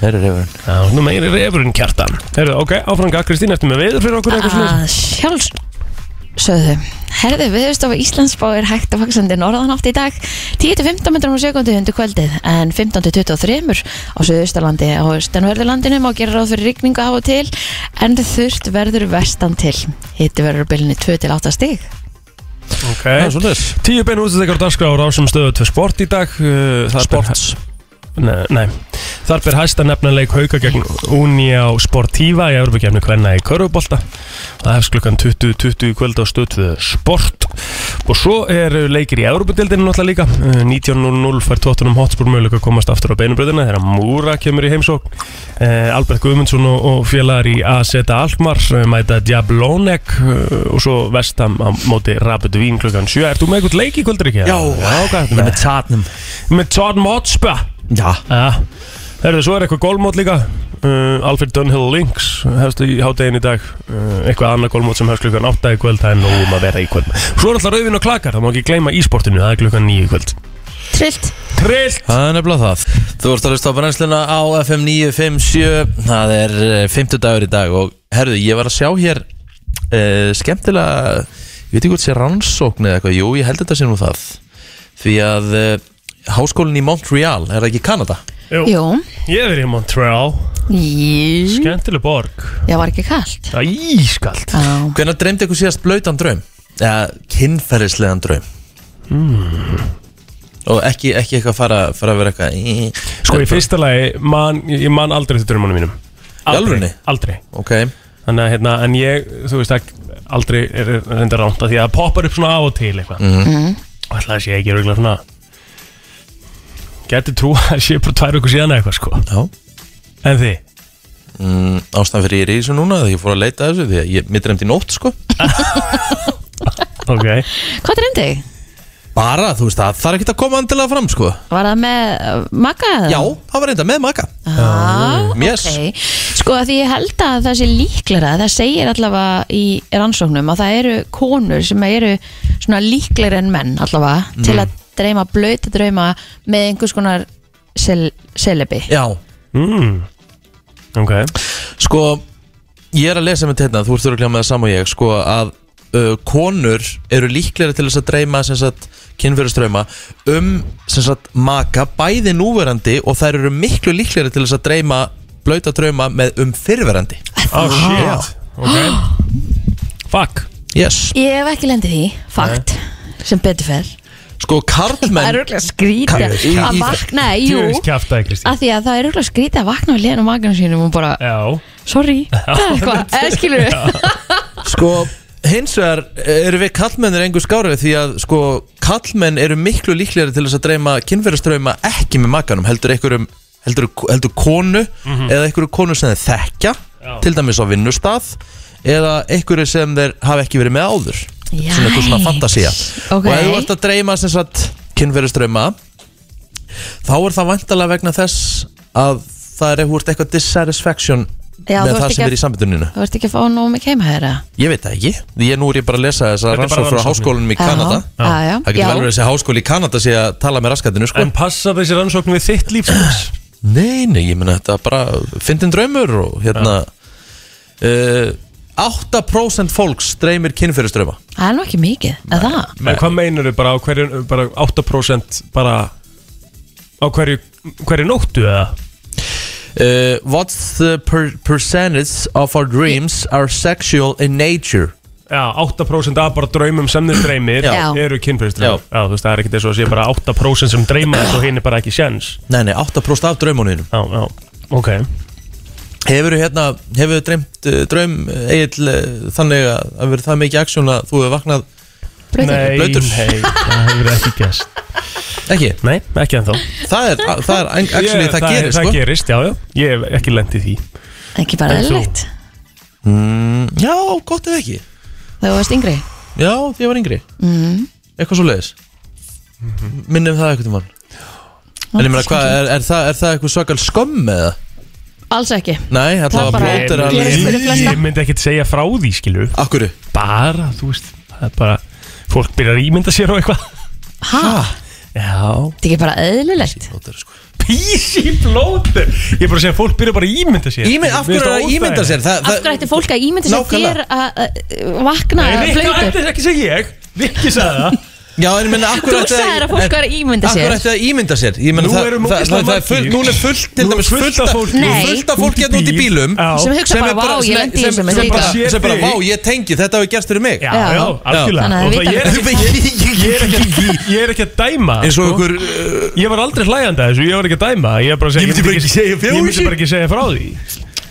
S2: Mér er yfir
S4: Já, nú meiri reyfurinn kjartan Herðu, ok, áfranga Kristín, ertu með veður fyrir okkur eitthvað svona?
S3: að sjálfs sögðu Herði viðstofa Íslandsbáir hægt og faksandi norðanátt í dag 10-15 metrum á sekundi undir kvöldið en 15-23 á Suðustalandi á Stenverðurlandinu má gera ráð fyrir rigningu af og til en þurft verður vestan til hitti verður á bylunni 2-8 stig
S2: Það er
S4: Ok
S2: svolítið
S4: Tíu beinu útsendingar á dagskrá á rásum stöðu til sport í dag uh, þar ber-
S2: Sports
S4: Nei, nei Þar ber hæsta nefnanleik hauka gegn Unia Sportiva í Európa-kefni kvenna í Körfubolta Það hefst klukkan 20.20 í kvöld á stöðtöðu Sport Og svo eru leikir í Európa-dildinu náttúrulega líka Eh, 19.00 fær tóttunum hotspur möguleika að komast aftur á beinubröðina þegar Múra kemur í heimsók eh, Albert Guðmundsson og, og félagar í AZ Alkmar eh, mæta Diablonek eh, og svo vestam á móti Rapid Vín klukkan 7 Ert þú með eitthvað leik í kvöldur ekki?
S2: Já,
S4: Já, hvað ertu
S2: Ég
S4: með?
S2: með tatnum
S4: Með Todd Motspur
S2: Já
S4: Já, herðu, svo er eitthvað gólmót líka uh, Alfred Dunhill Links hefst í hádegin í dag uh, eitthvað annað gólmót sem hefst klukkan 8 í kvöld það er nóg um að vera í kvöld Svo er alltaf rauðin og klakar, það má ekki gleyma ísportinu það er klukkan 9 í kvöld
S3: Trillt
S4: Trillt!
S2: Það er nefnilega það Þú ert að hlusta á brennsluna á FM 957 Það er fymtudagur í dag og herðu, ég var að sjá hér uh, skemmtilega ég veit ekki hvort sé rannsókn eða eitthvað Jú, ég held þetta sé nú það því að uh, háskólinn í Montreal er það ekki í Kanada?
S4: Jú,
S3: Jú,
S4: ég er í Montreal
S3: Jú.
S4: Skemmtileg borg
S3: það var ekki kallt
S4: Það er ískalt Sko,
S3: Já.
S2: Hvenær dreymdi ykkur síðast blautan draum? Eða kynferðislegan draum? Og ekki, ekki eitthvað fara, fara að vera eitthvað
S4: Sko, í fyrsta lagi, man, ég ég man aldrei þetta drömmunum mínum
S2: alvörunni?
S4: Aldrei
S2: Ok,
S4: Þannig að hérna, en ég, þú veist ekki, aldrei er reynda ránt að því að það poppar upp svona af og til eitthvað.
S3: Mhm.
S4: Og ætla að sé ekki röglega svona, geti trú að það sé bara tvær okkur síðan eitthvað sko.
S2: já
S4: En því,
S2: mm, ástæðan fyrir ég er í þessu núna þegar ég fór að leita að þessu því að ég, mér drefndi nótt sko
S4: ok,
S3: Hvað dreymdi þig?
S2: bara þú veist það það er ekkert að koma andilega fram sko
S3: Var það með uh, makka? eða?
S2: já það var reynda með maka
S3: Ah,
S2: Yes.
S3: ok. Sko að því ég held að það sé líklara það segir allavega í rannsóknum að það eru konur sem eru svona líklar en menn allavega
S2: Mm.
S3: til að dreyma blöta drauma með einhvers konar sel selebi
S2: já
S4: mm. ok,
S2: sko ég er að lesa með þetta þú ert þurfa að með það saman og ég sko að uh, konur eru líklega til þess að dreyma sem sagt kynfyrirströyma um sem sagt maka bæði núverandi og þær eru miklu líklega til þess að dreyma blauta drauma með um fyrverandi
S4: oh shit, ok, fuck,
S2: yes
S3: Ég hef ekki lendið því, fakt sem betur fer
S2: Sko,
S3: Það er
S2: karlmenn
S3: rúglega skrítið
S4: Hvað er
S3: að- að
S2: í-
S3: vakna, jú
S4: Jú Kjaftaði Kristi
S3: að því að það er rúglega skrítið að vakna við liðan á magnum sínum og bara,
S4: Já
S3: sorry Það er eitthvað, Eh, eða skilur við
S2: Sko, hins vegar eh, eru við karlmennir engu skárið því að sko, karlmenn eru miklu líklegri til þess að dreyma kynverðastrauma ekki með makanum, heldur einhverjum heldur, heldur konu eða einhverju konu sem þeir þekkja,
S4: Já.
S2: til dæmis á vinnustað eða einhverju sem þeir hafa ekki verið með áður
S3: Jæks.
S2: svona eitthvað svona fantasía
S3: Ok.
S2: og ef þú ert að dreyma sem sagt kynverðastrauma þá er það vantalega vegna þess að það er eitthvað, eitthvað dissatisfaction
S3: Já, þú
S2: með
S3: ert
S2: það
S3: ekki
S2: sem
S3: að-
S2: er í sambunduninu
S3: Þú ert ekki að fá nóg mikið heima þeirra
S2: Ég veit það ekki, ég nú er ég bara að lesa þess að
S4: Þetta er bara
S2: rannsók frá
S4: rannsóknir.
S2: háskólanum í Kanada
S3: Já, já, já.
S2: Það getur
S3: Já.
S2: vel verið að þessi háskóli í Kanada sé að tala með raskatinu sko
S4: En passa þessi rannsókn við þitt sko. lífsins
S2: Nei, nei, ég meina þetta er bara fyndin draumur og hérna uh, 8% fólks dreymir kynfyrirströma
S3: Það er nú ekki mikið, eða það?
S4: En hvað meinar þau bara á hverju bara 8% bara á hverju, hverju nóttu eða?
S2: uh, What's the per percentage of our dreams are sexual in nature?
S4: Já, 8% af bara draumum sem þeir dreymir
S3: Já.
S4: eru
S2: Já.
S4: kynfyrirströmmar Já, þú veist, það er ekkert eins og að sé bara 8% sem dreyma þess og hinn er bara ekki sjens
S2: Nei, nei, 8% af draumuninu
S4: Já, já, ok
S2: Hefur þú hérna, hefur þú dreymt uh, draum Egil uh, þannig að það verið það mikið aksjón að þú hefur vaknað
S3: Blautur.
S4: Nei,
S2: Blautur.
S4: nei, það hefur ekki gerst
S2: Ekki?
S4: Nei, ekki ennþá
S2: Það er, það er actually,
S4: Ég-
S2: það, gerir
S4: Það
S2: sko
S4: gerist, já, já Ég hef ekki lendið því
S3: Ekki bara
S4: En þú?
S3: eðlilegt
S2: Já, gott eða ekki
S3: Þegar þú varst yngri
S2: Já, því ég var yngri
S3: mm.
S2: Eitthvað svo leiðis Minnum það eitthvað mann En ég meina, hvað, er, er, það, er það eitthvað svakal skömm eða?
S3: Alls ekki
S2: Nei, alltaf
S3: Það
S2: að blót
S3: bara
S2: er
S3: gerist
S2: alveg
S3: fyrir flesta.
S4: Ég myndi ekkert segja frá því, skilu
S2: Akkurru
S4: Bara, þú veist, það er bara Fólk byrjar að ímynda sér og eitthvað
S3: Hæ?
S4: Já
S3: Þetta er ekki bara eðlilegt
S2: Ah, sko.
S4: Písi blótur Ég er bara að segja, fólk byrjar bara að ímynda sér
S2: Ímynd, af hverju er það að ímynda sér? Það,
S3: Af hverju ætti fólk að ímynda sér
S2: Nákvæmlega.
S3: þér að að vakna
S4: Nei, Rikka,
S3: blöytur?
S4: þetta er ekki segja ég Rikki sagði það
S2: Já, en ég meina, af
S3: Þú
S2: hverju ætti
S3: sagðir að fólk
S2: en-
S3: væri að ímynda
S2: Af hverju
S3: sér.
S2: ætti það að ímynda sér? Ég meina,
S4: Nú
S2: það,
S4: eru
S2: það,
S4: ógeðslega
S2: það, það er
S4: margir.
S2: full, núna er fullt til
S4: Nú er
S2: dæmis fullt af fólki
S3: Nei.
S2: fullt af fólki hérna út í bílum
S4: Já.
S3: Sem hugsa
S2: er
S3: bara, vá, ég
S2: sem-
S3: lendi í
S2: sem-
S3: þessu með
S2: sem bara-
S4: Rikka.
S2: sem bara, vá, ég tengi, þetta hefur gerst fyrir mig
S4: Já,
S3: Já.
S4: já, algjörlega
S3: Þannig að
S4: Og
S3: þið
S4: það-
S3: vita
S4: ég er
S3: það.
S4: ekki- Ég er ekki- ég er ekki að dæma
S2: eins og
S4: sko.
S2: ykkur uh,
S4: Ég var aldrei hlægandi að þessu, ég var ekki að dæma Ég, var bara að
S2: Ég myndi bara ekki segja frá
S4: Ég myndi
S2: þessu.
S4: bara ekki segja frá því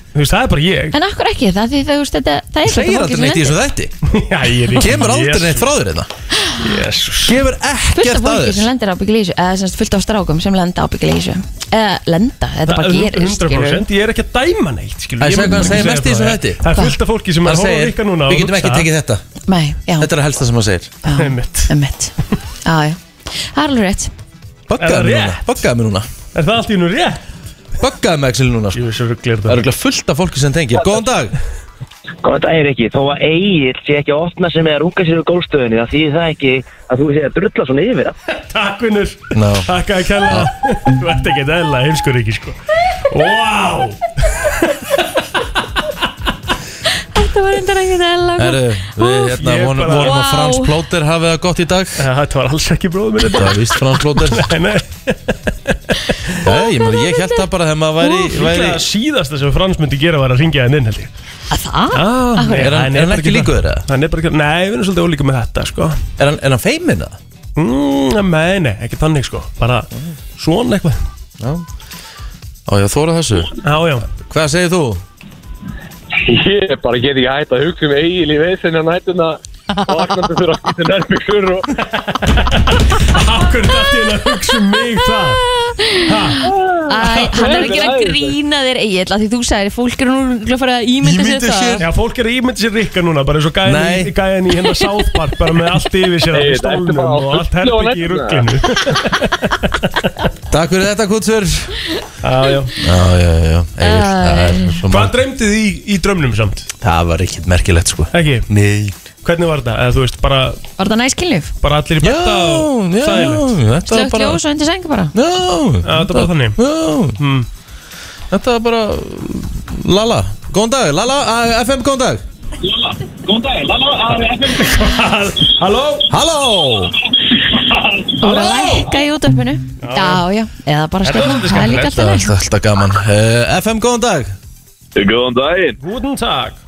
S4: Þú veist, það er bara ég
S3: En akkur ekki það því það, þú veist, þetta, það er
S2: segir aldrei neitt í þessu þætti
S4: Já, ég er ekki
S2: kemur aldrei neitt frá þér þetta
S4: Jesus.
S2: gefur
S3: Fullt af
S2: ekkert að
S3: fólki sem
S2: þess
S3: lendir ábyggil í þessu Eða sem sagt fullt af strákum sem lenda ábyggil í þessu Eða lenda, þetta bara gerist skilurðu.
S4: 100% ég er ekki að dæma neitt skilur.
S2: Það er
S4: Ég
S2: sagt hvað hann
S4: myndi ekki
S2: segir mest í
S4: segja
S2: þessu
S4: frá
S2: þætti.
S4: því. Það er fullt af fólki sem er
S2: hann
S4: að hóra
S2: segir,
S4: líka núna
S2: við getum ekki tekið þetta
S3: Nei, já,
S2: þetta er að helsta sem hann segir
S3: já,
S4: Einmitt.
S3: einmitt Já, já, það er alveg rétt
S2: buggaðu
S4: Er það
S2: mig núna, buggaðu
S4: rétt?
S2: mig núna
S4: Er það allt í nú rétt?
S2: buggaðu mig Axel núna sko.
S4: Jú, þessu rugglir
S2: það
S4: það
S2: eru örugglega fullt af fólki sem tengir góðan dag
S5: Góðan dagir ekki, þó að Egil sé ekki að opna sem er að runga sér við gólstöðinni þá þýðir það ekki að þú sé að drulla svona yfir það.
S4: Takk vinnur
S2: Ná.
S4: Takk að kella Þú ert ekki að dæla heimskur ekki sko Wow
S3: Þetta var reyndar ekkert eðla
S2: Herru, við hérna
S4: Ég
S2: vonum
S4: bara-
S2: vonum að
S3: Vá.
S2: Frans Plóter hafi það gott í dag
S4: Eh, Þetta var alls ekki bróðum minn
S2: það er víst Frans Plóter
S4: Nei, nei
S2: Nei, ég, meina, ég held það bara þegar maður væri, væri
S4: Líklega síðasta sem Frans myndi gera var að ringja henn inn held ég
S3: Það?
S4: ah,
S3: hverju?
S2: Er hann- er hann ekki líkur þér, eða?
S4: Hann er bara ekki, nei, við erum svolítið ólíku með þetta sko
S2: er hann, er hann feiminn það?
S4: mm, Nei, nei, ekki þannig sko Bara svona eitthvað
S2: Á ég að þóra þessu
S4: Já, já,
S2: Hvað segir þú?
S6: Ég bara get ekki hægt að hugsa um eigin í veðsinn á nættuna og vaknandi fyrir að geta nærmyggur og
S4: akkur þetta er að hugsa um mig það
S3: Æ, hann er ekki að grína þér eiginlega Því þú sagðir, fólk er nú að fara að ímynda sér
S2: Ímynda sér.
S3: það
S4: Já, fólk er að ímynda sér rikka núna bara eins og
S2: Nei.
S4: gæðan í, gæðan í hérna South Park bara með allt yfir sér
S6: Nei,
S4: allt í
S6: þetta er
S4: stólnum
S6: bara á
S4: og allt
S6: fullu á
S4: herbyggi í
S6: næturnar.
S4: rugglinu
S2: Takk fyrir þetta Kutsur
S4: Já, já
S2: Já, já, já, já. Egill, það er svo
S4: Hvað
S2: margt.
S4: dreymdi þið í, í drömnum samt?
S2: Það var ekkert merkilegt sko
S4: Ekki,
S2: Nei
S4: hvernig var það? Eða þú veist, bara,
S3: Var það næskilnif?
S4: bara allir í
S2: Já,
S4: betta og
S2: já,
S4: sæðilegt
S2: þetta var
S3: Slögt
S2: bara
S3: ljós og undir sengu bara
S2: Já,
S4: þetta var þannig.
S2: Já,
S4: Mm.
S2: þetta var bara Lala, góðan dag, Lala, a- FM, góðan dag
S4: Halló?
S2: Halló
S3: Þú voru að lækka í útöppinu Já, já, eða bara
S4: Þetta var
S3: skalla
S4: svolítið
S3: Það er líka
S2: Það
S3: alltaf
S4: skemmtilegt.
S2: er
S3: leik
S2: alltaf gaman uh, FM, góðan dag
S7: Góðan daginn.
S4: Guten Tag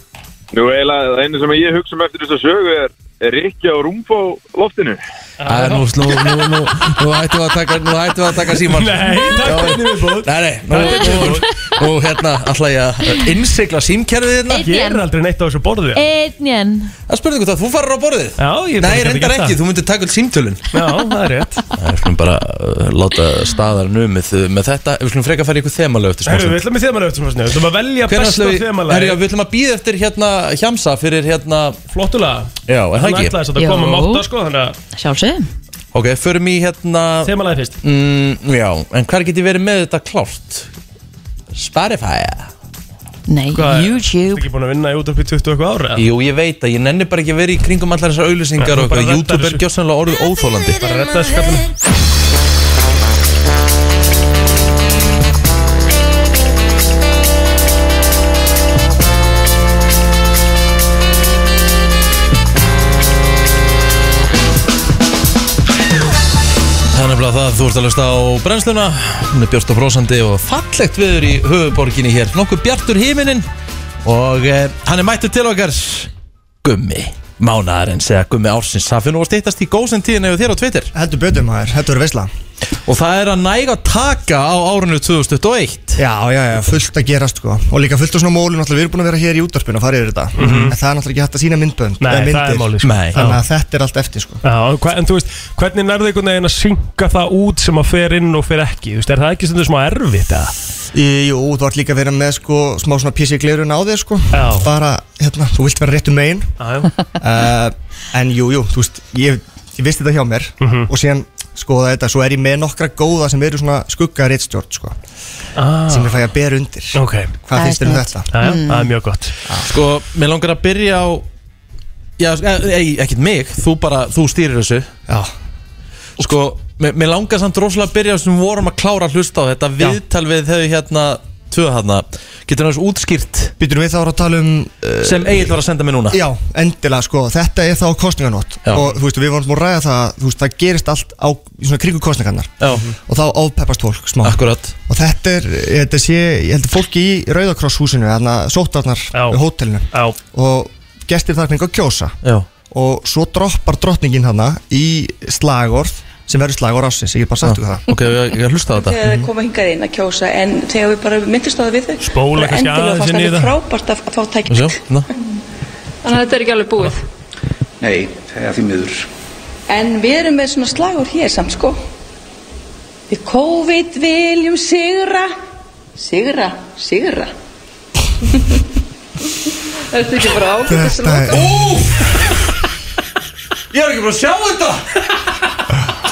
S7: Nú eiginlega, það einu sem ég hugsa um eftir þess að sögu er
S8: Rikki á rúmfó loftinu
S2: Æ, Ah, nú, nú, nú, nú, nú ættum við að taka, nú ættum við að taka síman
S4: Nei, takk
S2: Já.
S4: fyrir viðbúð
S2: Nei, nei, nú, nú, nú hérna ætla ég að innsigla símkerfið hérna
S3: Einn
S4: Ég er
S3: jen
S4: aldrei neitt á þessu borði
S3: Einn jen
S2: Það spurði hvað það, þú farir á borðið
S4: Já, ég
S2: Nei,
S4: bara gat
S2: reyndar
S4: gert
S2: ekki,
S4: það.
S2: þú myndir taka all símtölun
S4: Já, það er rétt
S2: Við skulum bara uh, láta staðar numið uh, með þetta Við skulum freka að fara í ykkur þemalög eftir smá
S4: Herru,
S2: stund.
S4: við ætlum í þemalega eftir svona Við ætlum að velja
S2: Hvenær ætlum
S4: besta
S2: við- Herru, já,
S4: þemalega
S2: Við ætlum að býða eftir hérna hjamsa fyrir hérna
S4: Flottulega
S2: Já, er það
S4: Hann
S2: ekki?
S4: ætlaði samt að
S3: Jú.
S4: koma mátta sko Þannig að
S3: Sjálfsögum
S2: Ok, förum í hérna
S4: þemalega fyrst
S2: mm, Já, en hvar get ég verið með þetta klárt? Spotify
S3: Nei,
S4: Hvað er- Þú ert
S3: YouTube
S4: ekki búin að vinna í útarpi 20 eitthvað ára
S2: Jú, ég veit að ég nenni bara ekki að vera í kringum allar þessar auðlýsingar
S4: Nei,
S2: og
S4: bara
S2: eitthvað.
S4: redda
S2: YouTube er
S4: þessu.
S2: gjössanlega orðið óþólandi
S4: Bara redda þessu kallinu
S2: Það er nefnilega það, þú ert að lösta á brennsluna Hún er björst og brósandi og fallegt viður í höfuborginni hér Nokkuð bjartur himinin Og eh, hann er mættur til okkar Gummi Mánaðarins eða Gummi Ársins Það fyrir nú að steytast í góðsend tíðin eða þér á Twitter
S9: Heldur betur maður, þetta verður veisla
S2: Og það er að næga taka á árinu 2021
S9: Já, já, já, fullt að gerast sko Og líka fullt af svona mólum, náttúrulega við erum búin að vera hér í útvarpinu og fara yfir þetta En það er náttúrulega ekki hægt að sína myndbönd
S4: Mhm. Nei, það
S9: eða
S4: er
S9: myndir.
S4: málið sko.
S2: Nei.
S9: Þannig að þetta er allt eftir sko
S4: Já, en hva- en þú veist, hvernig nærðu einhvern veginn að synga það út sem að fer inn og fer ekki? Þú veist, er það ekki stundum smá erfitt eða?
S9: Í, Jú, þú ert líka að vera með sko smá svona písi glirun á þér sko
S4: Já.
S9: Bara, hérna, þú vilt vera réttum megin
S4: Já, já.
S9: uh, En jú, jú, þú veist, ég, ég vist þetta hjá mér
S4: Mhm.
S9: Og síðan skoða þetta, svo er ég með nokkra góða sem eru svona skugga réttstjórn sko
S4: Ah,
S9: Sem ég fæ að bera undir
S4: ok, já,
S9: Hvað
S3: Það
S9: finnst
S3: er
S9: þér um
S3: snjallt.
S9: þetta?
S4: já,
S10: Mm.
S4: það er mjög gott.
S2: Sko, mér langar að byrja á Já, e, e, ekkert mig Þú bara, þú stýrir þessu
S9: Já,
S2: Sko, mér, mér langar samt rosalega að byrja sem vorum að klára að hlusta á þetta viðtal við þau hérna tvö hérna getur náttúrulega útskýrt
S9: býtum við þá að tala um uh,
S2: sem Egil var að senda mér núna
S9: Já, endilega sko, þetta er þá kostninganót
S2: Já.
S9: og þú veist, við vorum búin að ræða það að, þú veist, það gerist allt á í svona kringu kostningarnar
S2: Já,
S9: og þá ofpeppast fólk smá
S2: akkurat
S9: og þetta er, þetta sé, ég held að fólki í Rauðakrosshúsinu, þannig að sótarnar
S4: Já.
S9: við hótelinu
S4: Já,
S9: og gestir þar kring að kjósa
S2: Já,
S9: og svo droppar drottningin hana í slagorð sem verður slagorð ásins, ég get bara sagt ykkur það
S2: ok, ég, ég hlusta á þetta
S10: þegar þeir koma hingað inn að kjósa en þegar við bara myndist á það við þau
S4: Spóla
S10: bara
S4: kannski
S10: endilega
S4: aðeins
S10: fannst
S4: inn í
S10: alveg
S4: það.
S10: frábært að að fá tækja
S2: Sjá, hérna. na.
S11: Þannig að þetta er ekki alveg búið.
S12: Nei, það er því miður.
S10: en við erum með svona slagur hér samt sko við COVID viljum sigra sigra, sigra
S11: Þetta er ekki bara ágætt.
S9: Þetta er,
S2: Ég er ekki bara að sjá þetta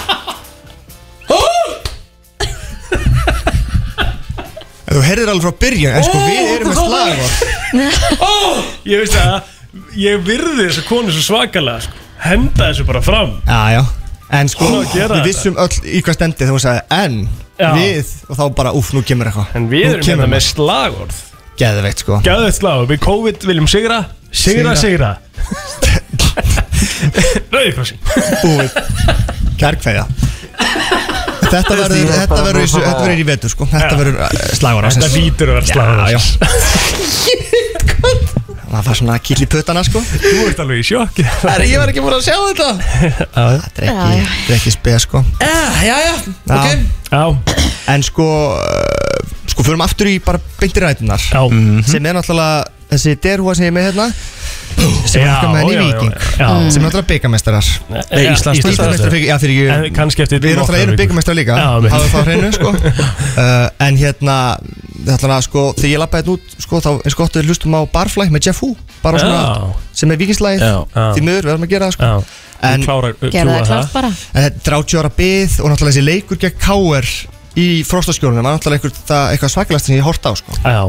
S9: þú heyrðir alveg frá byrjun en sko við erum með slagorð
S4: ég veist að, ég virði þessa konu svo svakalega, sko. Henda þessu bara fram.
S9: Já, já En sko,
S4: Hún á að gera
S9: við vissum öll í hvað stendi þegar hún sagði En,
S4: Já.
S9: við, og þá bara, úf, nú kemur eitthvað
S4: En við erum hérna með slagorð.
S9: Geðveikt, sko
S4: Gæðið slag, við COVID viljum sigra, sigra, sigra. Rauðikrossin.
S9: Búið Kærkveðja Þetta verður, þetta verður, í- þetta verður í vetur, sko Þetta verður eh, slagur
S4: Þetta
S9: ásins
S4: lítur að vera slagur
S9: Já, já.
S4: ársins.
S9: Það var svona kill í puttana, sko
S4: Þú ert alveg í sjokki.
S2: Ég var ekki bara að sjá þetta
S9: Þetta er ekki, þetta er ekki speð, sko
S2: Já, Eh, já, já, ok
S9: Já.
S4: Já,
S9: En sko, eh, sko, förum aftur í bara beintir rætunar
S4: já. Mhm.
S9: Sem er náttúrulega þessi derhúa sem ég er með hérna Sem er
S4: Já,
S9: okkar með henni í
S4: já, já,
S9: Víking
S4: já.
S9: Sem er
S2: Mm.
S9: náttúrulega byggamestarar
S2: Nei,
S4: Já,
S2: Íslands-
S9: Íslandsmeistrar fyrir, já fyrir
S4: En
S9: ekki
S4: kannski eftir
S9: Við erum alltaf
S4: nokkrar
S9: erum
S4: vikur.
S9: byggamestrar líka
S4: Já, mitt.
S9: Hafið það á hreinu sko uh, En hérna Þannig að sko Þegar ég lappaði þetta út Sko þá eins gott að við hlustum á Barfly með Jeff Hu Bara svona
S4: Já.
S9: Sem er vikingslæð
S2: Já.
S9: Því miður við erum að gera það sko
S4: Já,
S9: En-
S4: en klárar,
S3: Gerða
S4: trúa
S3: það klart
S4: það
S3: bara
S9: En þetta er 30 Eh, ára byð Og náttúrulega þessi leikur gegn K.R. Í frostaskjólunum Það var náttúrulega einhver, það, eitthvað svakalæst sem ég horta á sko
S4: Já,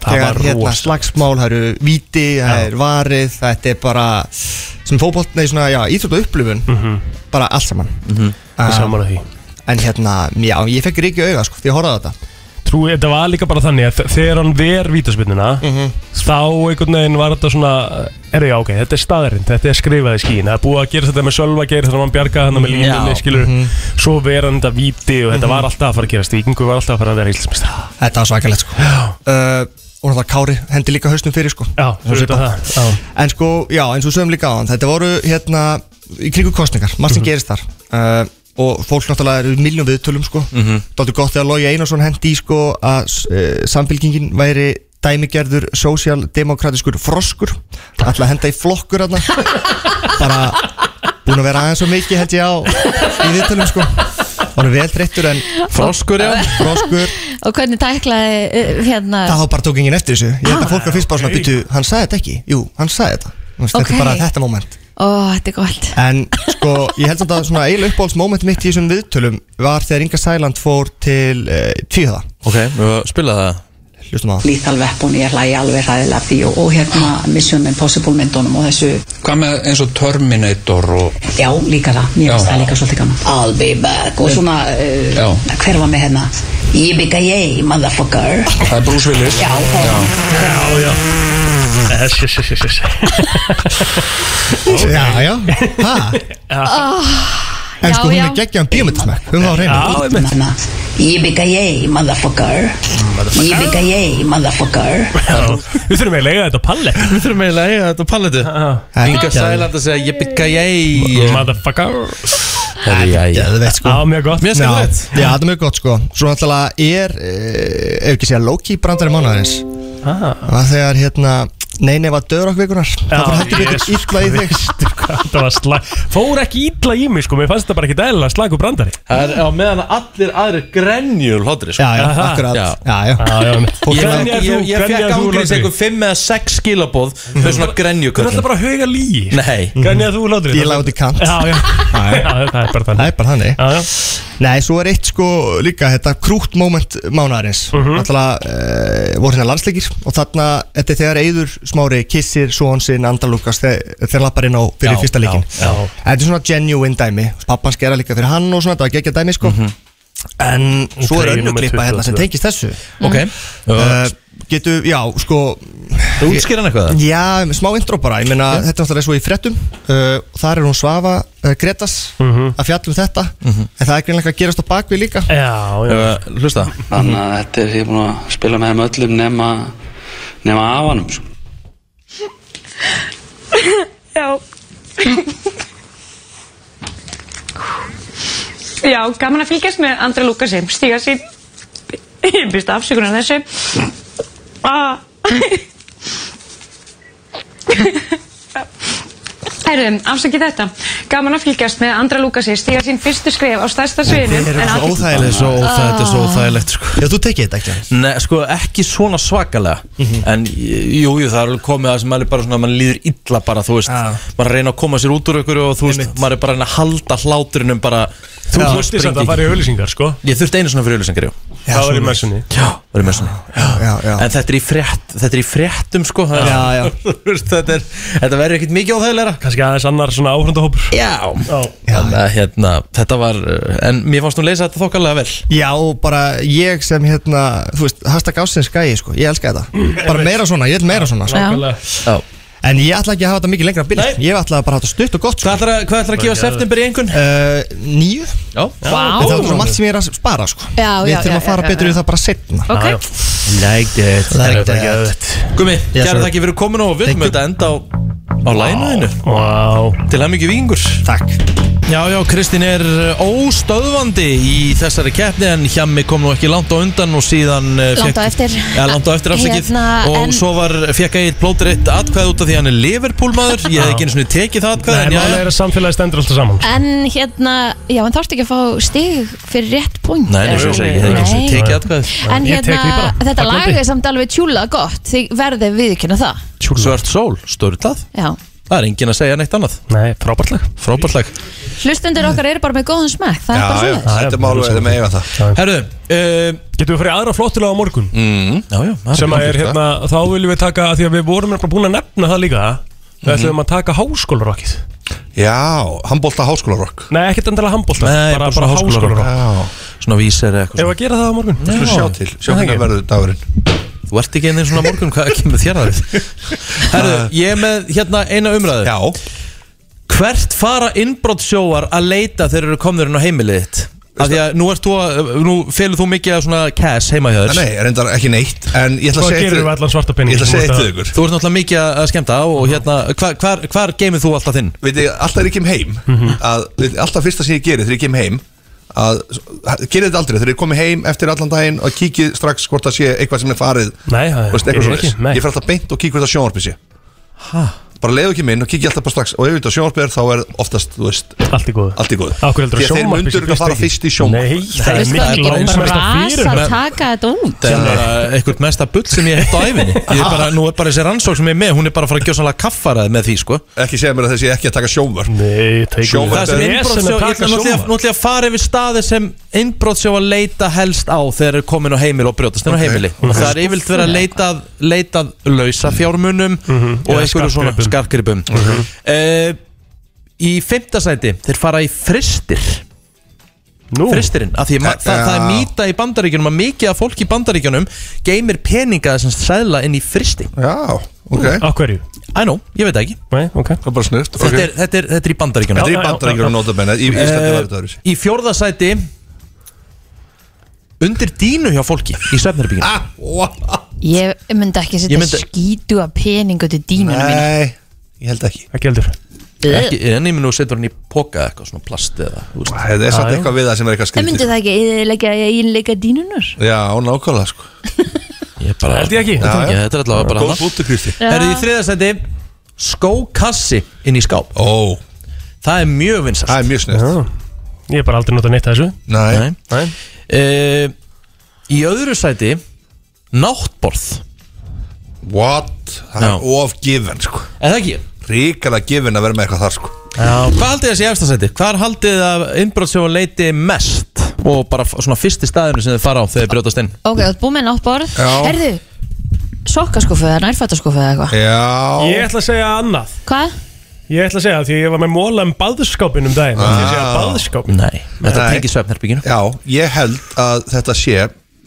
S4: það var
S9: Þegar hérna
S4: rosa
S9: slagsmál Það eru viti Það er varið Þetta er bara Sem fótbolt Nei svona já Íþrótta upplifun Bara allt saman
S4: Ég er
S9: Ah.
S4: Mhm. saman að því
S9: En hérna, já, ég fekk ríki auga sko, því ég horfði á þetta
S4: Trúi, þetta var líka bara þannig að þ- þegar hann ver vítaspilnuna
S9: Mm.
S4: þá einhvern veginn var þetta svona Erðu, já, ok, þetta er staðarinn, þetta er skrifað í skín Það er búið að gera þetta með Sölva geir þannig að hann bjargaði hann með línunni, skilur Svo ver hann þetta víti og þetta var alltaf að fara að gerast Víkingur var alltaf að fara að vera íslensmist
S9: Þetta var svakalegt sko uh, og náttúrulega Kári hendi líka hausnum fyrir sko
S4: Já,
S9: Svo
S4: auðvitað
S9: bara-
S4: það, já.
S9: En sko, já, eins og sögum líka á hann Þetta voru hérna í kringu kostningar Margt sem
S2: Mhm.
S9: gerist þar uh, Og fólk náttúrulega eru miljón viðtölum sko
S2: Mhm.
S9: Dálítið gott þegar Lógi Einarsson hendi í sko Að uh, samfélkingin væri dæmigerður Sósialdemokratiskur froskur Ætla að henda í flokkur hérna Bara búin að vera aðeins og mikið held ég á Í viðtölum sko Var vel þreyttur en
S2: Froskur já
S9: Froskur
S3: Og hvernig tæklaði uh, hérna
S9: Það þá bara tók enginn eftir þessu Ég held að fólk að fyrst bara svona býtu Hann sagði þetta ekki, jú, hann sagði þetta Þú veist, Þetta
S3: Ok.
S9: er bara þetta moment
S3: Ó, þetta er gott
S9: En sko, ég held samt að svona eiginlega uppáhalds moment mitt í þessum viðtölum Var þegar Inga Sæland fór til uh, tvíhöða
S2: Ok, við spila það
S9: Hlustum á
S10: Lethal Weapon, ég hlægi alveg ræðilega því og, og hérna Mission Impossible myndunum og þessu
S8: Hvað með eins og Terminator og
S10: Já, líka það, mér finnst
S8: Já.
S10: það líka svolítið gaman I'll be back og svona,
S8: Já.
S10: uh, hver var með hérna Yippee-ki-yay, motherfucker
S8: Það er Bruce Willis
S10: Já,
S4: Já, já Yes, yes, yes, yes, yes
S9: Já, já, ha
S4: Ah,
S3: oh,
S9: En sko, hún er geggjaðan bíómyndasmæk Hún var á reyna
S10: Hérna, Yippee-ki-yay, motherfucker Yippee-ki-yay, motherfucker
S4: Við þurfum eiginlega að eiga þetta á pallet
S2: Við þurfum eiginlega að eiga þetta á palletu Inga Sæland að segja Yippee-ki-yay
S4: Motherfucker
S2: Herjæj
S9: Það veit sko
S4: Já, mjög gott
S2: Mér
S9: Já,
S2: skilvægt
S9: já, þetta er mjög gott sko Svo náttúrulega er, eh, ef ekki segja Loki brandari mánuðarins
S4: Ah,
S9: Það var þegar hérna, nei, nei, var döðrokk vikunar Það fór heldur betur
S4: Jesus
S9: illa í þig
S4: Kristur, hvað þetta var slag Fór ekki illa í mig sko, mér fannst þetta bara ekki dæla slagur brandari
S2: Það er á meðan að allir aðrir grenjul hlotri sko.
S9: Já, já,
S4: Aha.
S9: akkurat
S2: Já.
S9: Já, já,
S4: Já, já, einmitt.
S9: Fólk
S2: Ég,
S9: er
S4: Grenjar
S2: ég,
S4: þú-
S2: ég, ég
S4: grenjar
S2: fekk
S4: þú
S2: ángriðis
S4: hlátri?
S2: einhver 5 eða 6 skilabóð með svona
S4: Þú er
S2: grenjuköllum
S4: alltaf bara að huga líi
S2: Nei.
S4: Hvernig að þú hlátri
S9: Ég láti kant
S4: Já, já
S9: Já, já.
S4: Já, það er bara
S9: Það
S4: þannig
S9: er bara þannig
S4: Já, já
S9: Nei, svo er eitt sko líka þetta krútt moment mánaðarins uh
S2: Mhm.
S9: -huh. Alltaf voru hérna landsleikir og þarna, þetta er þegar Eyður smári kissir són sinn andalúkast þegar þeir lappar inn á fyrir
S2: Já,
S9: fyrsta leikin
S2: já, já.
S9: Þetta er svona genuine dæmi Pappan skera líka fyrir hann og svona, þetta var geggja dæmi sko
S2: Mhm.
S9: En svo
S4: Ok,
S9: er önnu
S4: númer
S9: klippa hérna sem
S2: sko.
S4: 22.
S9: tengist þessu
S2: Ok Eh,
S9: uh, Getu, já, sko
S2: Þú útskýr hann eitthvað
S9: Já, smá intro bara, ég meina þetta er náttúrulega svo í frettum uh, Þar er hún Svafa uh, Gretas
S2: Mhm.
S9: að fjalla um þetta En það er greinlega að gerast á bakvið líka
S4: Já, já
S2: Uh, Hlusta
S8: Þannig að þetta er ég búin að spila með þeim öllum nema nema afanum sko.
S13: Já. Já, gaman að fylgjast með Andra Lúkasi, stíga sín. Ég býst afsökunar þessu. Ah. Herðum, afsakið þetta. Gaman að fylgjast með Andra Lúkasi, stíga sín fyrstu skref á stærsta sviðinu.
S9: Þeir eru
S13: en
S9: svo
S13: allir-
S9: óþægileg
S2: Svo óþægilegt er svo
S3: Ah.
S2: óþægilegt sko.
S9: Já, þú tekið þetta ekki
S2: Nei, sko ekki svona svakalega En jú, jú, það er alveg komið að sem maður er bara svona Maður líður illa bara, þú veist
S9: Já.
S2: Maður er að reyna að koma sér út úr ykkur Og þú veist,
S9: Einmitt.
S2: maður er bara að reyna að halda hláturinum bara
S4: Þú
S2: Já,
S4: þurfti samt
S2: springi.
S4: að fara í auðlýsingar sko
S2: Ég þurfti einu svona fyrir auðlýsingar, jú
S4: Það var í
S9: svona.
S4: messunni
S2: Já, var í messunni
S9: Já, já,
S2: En þetta er í frétt, þetta er í fréttum sko það-
S9: Já, já.
S2: Þú veist, þetta, er, þetta verður ekkert mikið óþægilega
S4: Kannski aðeins annar svona áhrundahópur
S2: Já,
S4: Já
S2: Þannig að hérna, þetta var uh, En mér fannst nú leysa þetta þokkalega vel
S9: já og bara ég sem hérna Þú veist, hashtag ásins gæi sko Ég elska
S2: Mm.
S9: þetta Bara meira svona, ég vil meira svona sko.
S3: Já.
S2: Já.
S9: En ég ætla ekki að hafa þetta mikið lengra að bíl
S2: Nei.
S9: Ég ætla bara að hafa þetta stutt og gott sko.
S2: Hvað ætlar að, hvað ætlar að gefa september í einhvern?
S9: uh, Nýju
S2: Já,
S3: Vá.
S9: Það er svo margt sem ég er að spara sko
S3: Já,
S9: Við
S3: já, já,
S9: þurfum að fara
S3: já,
S9: betur
S3: já,
S9: í það bara setna
S3: Ok,
S4: Like that
S9: Like that.
S2: Gumi,
S9: Yes,
S2: kæra
S9: sir.
S2: þakki fyrir komin og við
S9: Thank
S2: höfum
S9: you.
S2: þetta enda á, á lænaðinu
S4: Wow
S2: Til að mikið vingur
S9: Takk
S2: Já, já, Kristín er uh, óstöðvandi í þessari keppni En Hjami kom nú ekki langt á undan og síðan uh,
S3: Langt
S2: fékk-
S3: á eftir.
S2: Já, langt á eftir afsakið
S3: Hérna,
S2: Og
S3: en-
S2: svo var, fekk Egil Plóter eitt atkvæð út af því að hann er Liverpool maður Ég hef ekki einu svona tekið það atkvæð
S4: Nei,
S2: en já,
S4: málega
S2: já.
S4: er að samfélagi stendur alltaf saman sko.
S3: en hérna Já, en þarftu ekki að fá stig fyrir rétt punkt
S2: Nei, nei,
S3: eða
S2: svo
S3: eitthvað?
S2: segi ég, ég hef ekki einu svona
S3: Nei.
S2: tekið atkvæð
S3: En
S4: Ég tek því
S3: hérna,
S4: bara.
S3: þetta
S4: Fagnandi.
S3: lag er samt alveg tjúla gott Þið verðið viðkynna það
S2: Svört sól, störtlað
S3: Já.
S2: Það er enginn að segja neitt annað
S4: Nei, frábærtleg
S2: Frábært lag
S3: Hlustundir okkar eru bara með góðan smekk Það er bara
S14: já,
S3: svona
S14: þetta er málveg, þetta með eiga það
S2: Herðu uh,
S4: Getum við farið í aðra flottilega á morgun
S2: Já, já það
S4: sem að
S2: ekki
S4: er
S2: langt.
S4: hérna, þá viljum við taka af því að við vorum nefnilega búin að nefna það líka við ætlum að taka háskólarokkið
S14: Já, handbólta háskólarokk
S4: Nei, ekkert endalega handbólta,
S2: Nei, bara
S4: bara, bara
S2: svona
S4: háskólarokk
S14: Já,
S2: Svona vísir eða eitthvað
S4: Ef
S2: svona.
S4: að gera það á morgun
S14: þú
S4: Já.
S14: sjá til, sjá
S4: Það
S14: hvernig
S4: ekki.
S14: verður dagurinn
S2: Þú ert ekki einnig svona á morgun, hvað kemur þér að þér? Herðu, ég er með hérna eina umræðu
S14: Já,
S2: Hvert fara innbrottsjóar að leita þegar þeir eru komnir inn á heimilið þitt? Af því að nú, ert þú að, nú felur þú mikið af svona cash heima hjá þér
S9: Nei, nei, reyndar ekki neitt En ég ætla
S2: Hvað
S9: að segja
S2: gerirðu við allan svarta peninginn
S9: Ég ætla að
S2: sem þú ert
S9: segja eitt
S2: að-
S9: við ykkur
S2: Þú ert náttúrulega mikið að skemmta og hérna, hvar, hvar, hvar geymir þú alltaf þinn?
S9: Veit ég, alltaf er ég kem heim að, veit, Alltaf fyrsta sem ég gerir þegar ég kem heim að, Gerir þetta aldrei, þegar ég komi heim Eftir allan daginn og kíkið strax hvort það sé Eitthvað sem er farið
S4: Nei, það
S9: Veist,
S4: gerir
S9: eitthvað
S4: ekki,
S9: svoleiðis.
S4: nei.
S9: Ég fer alltaf beint og kíkja hvort það sjónvarpið sé
S4: Ha?
S9: bara leiðu ekki minn og kíkja alltaf bara strax og ef þetta sjónvarpið er þá er oftast, þú veist
S4: allt í góðu,
S9: allt í góðu.
S4: Af hverju heldurðu að
S9: Því þeir
S4: sjónvarpið
S9: mundur
S4: sé
S9: ekki að fara
S4: fyrst
S9: fyrst
S4: ekki?
S9: í sjón
S4: Nei, það er
S3: Veistu hvað,
S4: miklu
S3: það er
S4: langsóttasta
S3: bara
S4: fyrir
S3: að
S4: með-
S3: taka þetta út
S2: Það er eitthvað mesta bull sem ég hef á æfinni Ég er bara, Nú er bara þessi rannsók sem ég er með Hún er bara að fara að gjösa sannlega kaffaraði með því sko.
S9: Ekki segja mér að þessi ekki að taka sjónvarp
S4: Nei, teikur
S2: Það sem innbrotsjá Ég ætla náttúrulega náttúrulega að fara yfir staði sem innbrotsjá að leita helst á þegar er komin á heimil og brjótast inn á
S4: Ok.
S2: heimili
S4: Mhm.
S2: Það er yfirlt verið að leitað, leitað lausa fjármunum og
S4: Eða
S2: einhverju svona
S4: Mhm. skartgripum. Mhm.
S2: skarkripum Í fymta sæti þeir fara í fristir
S4: Nú.
S2: Fristirinn, af því ma-
S4: Þetta-
S2: það, það er mýta í bandaríkjunum að mikið af fólki í bandaríkjunum geymir peninga sem sæðla inn í fristi
S9: Já, ok
S4: Á hverju?
S2: I know, ég veit það ekki
S4: Nei, ok
S9: Það er bara snurft
S2: Þetta er- þetta er þetta er í bandaríkjunum
S9: Þetta er í Bandaríkjunum notabene, í Íslandi var þetta öðruvísi.
S2: Í fjórða sæti Undir dínu hjá fólki Í svefnherbygginu
S9: ah,
S3: Ég myndi ekki setja
S2: Ég
S3: myndi...
S2: myndi-
S3: skítu að peningu til dýnunum mín
S9: ég held ekki
S4: Ekki heldur
S2: ekki, En ég minn þú setur hann í poka eða eitthvað svona plast eða
S9: Það er satt eitthvað við það sem er eitthvað
S3: En myndi
S9: skrítið
S3: það ekki eðilegja eiginleika dýnunar?
S9: Já, nákvæmlega sko
S2: Ég bara
S4: Held ég ekki.
S9: Já, já.
S2: Þetta er allavega bara
S9: Góð
S2: annað.
S9: punktur, Kristi.
S3: Já.
S2: Herðu í þriða sæti Skókassi inn í skáp
S9: Ó
S2: Það er mjög vinsast
S9: Það er mjög snurft
S4: Ég er bara aldrei notað neitt af þessu
S9: Nei,
S4: Nei.
S2: Eh, Í öðru sæti Náttborð
S9: What? Það
S2: Já.
S9: er of given sko
S2: Er það ekki?
S9: Ríkala given að vera með eitthvað þar sko
S2: Hvað haldið þessi efsta sæti? Hvað haldið að innbrottsjóðan leiti mest og bara f- svona fyrsti staðinu sem þið fara á þegar þið brjótast inn?
S3: Ok, þú ert búið með nátt borð
S2: Já.
S3: Herðu, sokkaskúfu eða nærfattaskúfu eða
S9: Eh.
S3: eitthvað
S9: Já
S4: Ég ætla að segja annað
S3: Hvað?
S4: Ég ætla að segja það því að ég var með móla um baðskápin um daginn ah. Ég segja baðskáp
S2: Nei, þetta
S9: Nei.
S2: tengir svefnherbygginu
S9: Já, ég held að þetta sé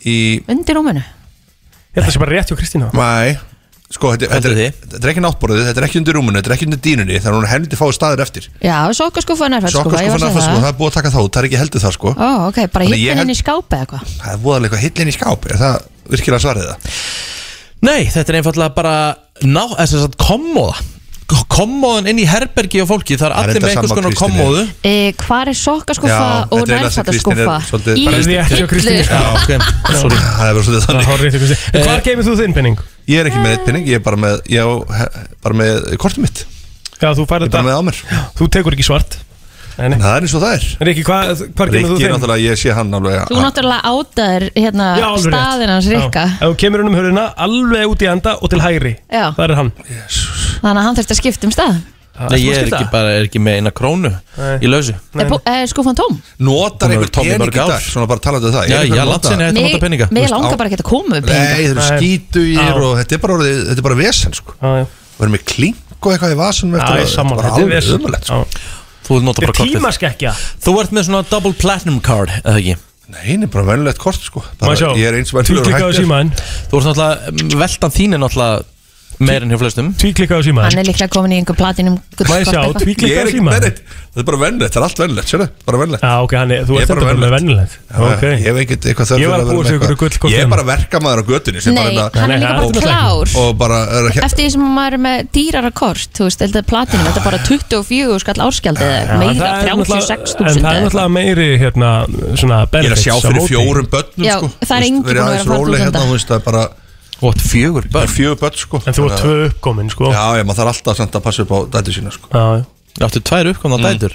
S9: í
S3: Undir rúminu
S4: Ég ætla að segja bara rétt hjá Kristína
S9: Mæ Sko, þetta, þetta, er- þetta er ekki náttborðið, þetta er ekki undir rúmunu, þetta er ekki undir dýnunni Þannig að hún er helviti fáið staðir eftir
S3: Já, sokkaskúfu eða nærfattaskúfu
S9: Sokkaskúfa, nafnaskúfa, það er búið sko að taka þá, út, það er ekki heldur það sko
S3: Ó, ok, bara
S9: Þannig ég
S3: hittin inn
S9: held-
S3: í skápi eða eitthvað
S9: Það er voðalega eitthvað hillin í skáp, er það virkilega svarið það?
S2: Nei, þetta er einfallega bara ná, þess að kommóða K- kommóðan inn í herbergi og fólki það er
S9: er
S2: allir
S9: þetta
S2: með einhvers
S9: sama
S2: konar
S9: Kristín
S2: kommóðu
S3: e, Hvar er sokkaskúfa
S9: Já,
S3: og
S9: þetta er það sem Kristín er
S3: nærfattaskúfa?
S9: svolítið-
S3: Í
S9: bara
S4: rétt hjá Kristínu.
S3: hillu
S4: Já.
S2: sorry
S9: Það er verið svolítið
S4: Það
S9: þannig
S4: var rétt hjá Kristína
S9: Eh.
S4: Hvar geymir þú þinn penning?
S9: Ég er ekki með eitt penning, ég er bara með, ég á, he- bara með kortum mitt
S4: Já, þú færði
S9: Ég er bara með á mér
S4: Þú tekur ekki svart Nei, nei
S9: Það er eins og það er
S4: Riki, hvað, hvar geymir þú
S9: Rikki,
S4: þinn?
S9: náttúrulega, ég sé hann alveg
S3: Þú náttúrulega átaðir hérna
S4: Já, alveg rétt.
S3: staðinn hans Rikka
S4: Ef þú kemur hann um hörðina alveg út í enda og til hægri
S3: Já.
S4: Það er hann
S3: Þannig að hann þurfti að skipta um stað
S2: Nei, ég er ekki, bara, er ekki með eina krónu í lausu
S3: Er, bú- er skúfan tóm?
S9: Notar
S2: Hún hefur
S9: einhver
S2: Tommy
S9: pening
S2: mörg
S9: í
S2: ár.
S9: dag, svona bara talandi um það
S2: Já,
S9: Er
S2: já,
S9: einhver að nota-
S2: landsinn er- Þetta
S3: Mig-
S2: notar peninga.
S3: Mig
S9: Þú veist,
S3: langar
S9: á-
S3: bara ekki að koma með
S9: Nei,
S3: peninga
S9: þeir eru
S4: Nei.
S9: skítugir
S4: Já.
S9: og þetta er bara orðið, þetta er bara vesen sko
S4: Já, já
S9: Verður með klink og eitthvað í vasunum eftir
S4: Já,
S9: að-
S4: ég sammála,
S9: bara
S4: þetta er
S9: alveg
S4: vesen.
S9: ömurlegt, sko.
S4: Já.
S2: Þú vil nota
S4: Þetta
S2: bara
S4: er
S2: kortið
S4: tímaskekkja
S2: Þú ert með svona double platinum card, eða ekki?
S9: Nei, það er bara venjulegt kort sko
S4: Má sjá,
S9: bara, Ég er eins og venjulegur
S4: tvíklikkaðu
S9: hægt er.
S4: símaðinn
S2: Þú ert náttúrulega, m, veltan þín er náttúrulega meir en hjá flestum
S4: Tvíklikkaðu símaðinn
S3: Hann er líklega komin í einhver platinum gullkort
S4: Má ég sjá,
S3: eitthvað.
S9: Ég er
S4: tvíklikkaðu
S9: ekki með
S4: símaðinn
S9: neitt Það er bara venjulegt, það er allt venjulegt, sérðu Bara venjulegt
S4: Já, ok, hann er, þú
S9: Ég er
S4: ert
S9: bara
S4: þetta bara með vennilegt Ok
S9: Ég hef ekkert eitthvað þörf
S4: Ég var
S9: fyrir
S4: að búa
S9: vera
S4: til
S9: með
S4: ykkur
S9: eitthvað-
S4: gullkort
S9: Ég er
S4: hérna.
S9: bara verkamaður á götunni sem
S3: Nei,
S9: bara hérna-
S3: hann
S4: Nei,
S3: er líka
S4: það er
S3: bara
S4: ótrúlega
S3: klár
S9: Og bara er að
S3: Eftir því sem maður er með dýrara kort Þú veist, þetta er platinum, þetta er bara 24 skall árskjald
S4: Já,
S3: eða
S4: en
S3: meira,
S4: það er
S3: 36.000
S4: náttúrulega- En það
S3: eða
S4: er
S3: eitthvað.
S4: náttúrulega meiri hérna svona
S9: Ég er að
S4: benefits
S9: sjá
S4: á
S9: fyrir
S4: móti.
S9: fjórum börnum
S3: Já,
S9: sko
S3: það er
S9: Þú veist,
S3: enginn
S9: verið
S3: búinn að vera
S9: aðeins
S3: að fara út
S9: róleg
S3: um
S9: hérna,
S3: þetta.
S9: þú veist, það er bara
S2: What, fjögur
S9: Það er
S2: börn?
S9: fjögur börn sko
S4: En þú var
S9: Þannig
S4: tvö
S9: að-
S4: uppkomin sko
S9: Já, já, maður þarf alltaf samt að passa upp á dættu sína sko
S4: Já, já.
S2: Áttu tvær
S9: Mm.
S2: uppkomna dætur?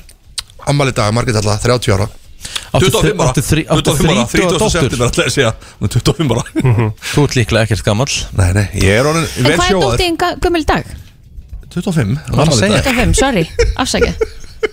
S9: Ammali dag, Margrét Alla, 30 ára
S2: Áttu
S9: 25 ára,
S2: áttu þrí- áttu
S9: 25 ára,
S2: 30
S9: 30 september alltaf þessi að hún er 25 ára
S2: Þú ert líklega ekkert gamall
S9: Nei, nei, ég er orðin
S3: En
S9: vel
S3: hvað er
S9: sjóður
S3: dóttin gömul í dag?
S9: 25,
S2: Var að
S9: afmæli í
S2: segja.
S9: dag.
S3: 25, sorry, afsækja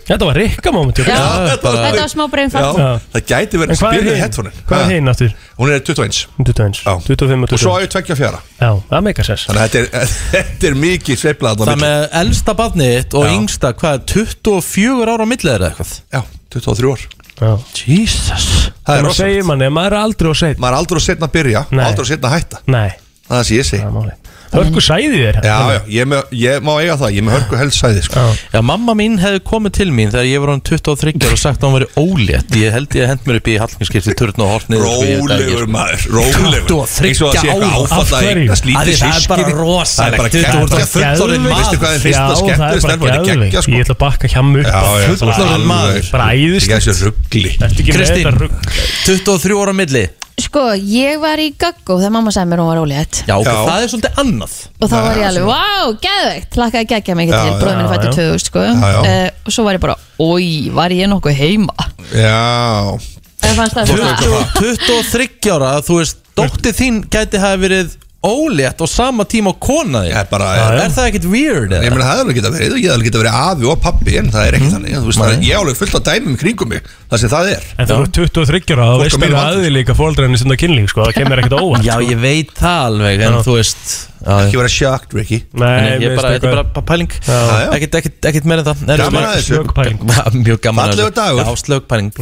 S4: Þetta var rikka moment
S3: Já,
S9: þetta var-
S3: þetta var smá brain fart
S9: Já, það gæti
S4: En hvað
S9: verið
S4: er
S9: spilið
S4: hinn?
S9: headphone
S4: Hvað er hinn aftur?
S9: Hún er 21
S4: 21,
S9: Já.
S4: 25 og
S9: og svo á
S4: 20
S9: ég 24
S4: Já, það meikar sér
S9: Þannig að þetta er, þetta er mikið sveiflað þarna á
S2: Það
S9: milli.
S2: með elsta barnið þitt og yngsta, hvað er 24 ára á millið eða eitthvað?
S9: Já, 23 ár
S2: Jesus
S9: Það er
S4: Það
S9: rosalegt.
S4: segir manni, maður er aldrei og segir
S9: Maður er aldrei að setna að byrja,
S4: Nei.
S9: aldrei að setna að hætta
S4: Nei,
S9: Það er það sem ég segi
S4: það er hérna. máli Hörku sæði þér
S9: Já, já, ég, með, ég má eiga það, ég er með hörku helsæði sko.
S2: Já, mamma mín hefði komið til mín þegar ég var hann 23 ára og sagt að hún væri ólétt Ég held ég að hend mér upp í Hallgrímskirkju turn og hortnið sko.
S9: Rólegur maður, rólegur
S2: 23
S9: Eins og það sé
S2: ára
S9: eitthvað áfall að eignast
S2: Af
S9: lítið
S2: hverju? Af því Það er
S9: systkini.
S2: bara
S9: Það er bara
S2: rosalegt Þú ert
S9: gegn- það
S2: að
S9: er
S2: fullorinn
S9: fullorðinn,
S2: maður
S9: veistu hvað er fyrsta
S4: Já, það er
S9: skemmtilegasta?
S4: bara
S9: Það er bara
S4: geðveikt.
S9: geggja, sko.
S4: Ég ætla að bakka hjá mig
S9: Já, já,
S2: Fullorðinn maður.
S4: Bara æðist
S9: Ekki þessu ruggli
S4: Ertu ekki með þetta
S2: Kristín,
S4: rugg
S2: 23 ára milli
S3: Sko, ég var í gaggó þegar mamma sagði mér hún var ólétt
S2: Já, ok, það er svolítið annað
S3: Og þá var ég alveg,
S2: svona.
S3: wow, geðveikt Lakaði geggja mikið
S2: Já,
S3: til,
S2: já,
S3: bróðum minn fætti
S2: já.
S3: 2000 sko.
S2: Já, já.
S3: Eh, Og svo var ég bara, oi, var ég nokkuð heima
S9: Já
S3: Það fannst um það svona
S2: 23 ára, þú veist, dóttið þín gæti hafa verið ólétt og sama tíma á kona þig
S9: bara,
S2: Er það ekkert weird?
S9: Ég meina það er alveg geta verið, ég hefði geta verið afi og pappi en það er ekki þannig, þú veist, það er, ég er alveg fullt af dæmum í kringum mig, það sem það er
S4: En þú eru 23 ára og
S9: Fólk á
S4: veist
S9: meira
S4: mér
S9: vandur.
S4: aðeins líka fóreldræðinni sem það kynlíf sko, það kemur ekkert á óvart
S2: sko. Já,
S4: sko.
S2: ég veit það alveg, en
S4: Já.
S2: þú veist
S9: Ekki vera sjokt, Ricky
S4: Nei,
S2: ég er
S4: mér
S2: bara,
S4: finnst
S2: þetta er
S4: eitthvað-
S2: bara pæling
S4: Já.
S2: Ekkert- Ekkert ekkert meira en það Herru,
S4: Gaman að þessu. Slök pæling.
S2: Mjög gaman að
S4: Fallegur
S2: þessu
S4: dagur.
S2: Já, slög pæling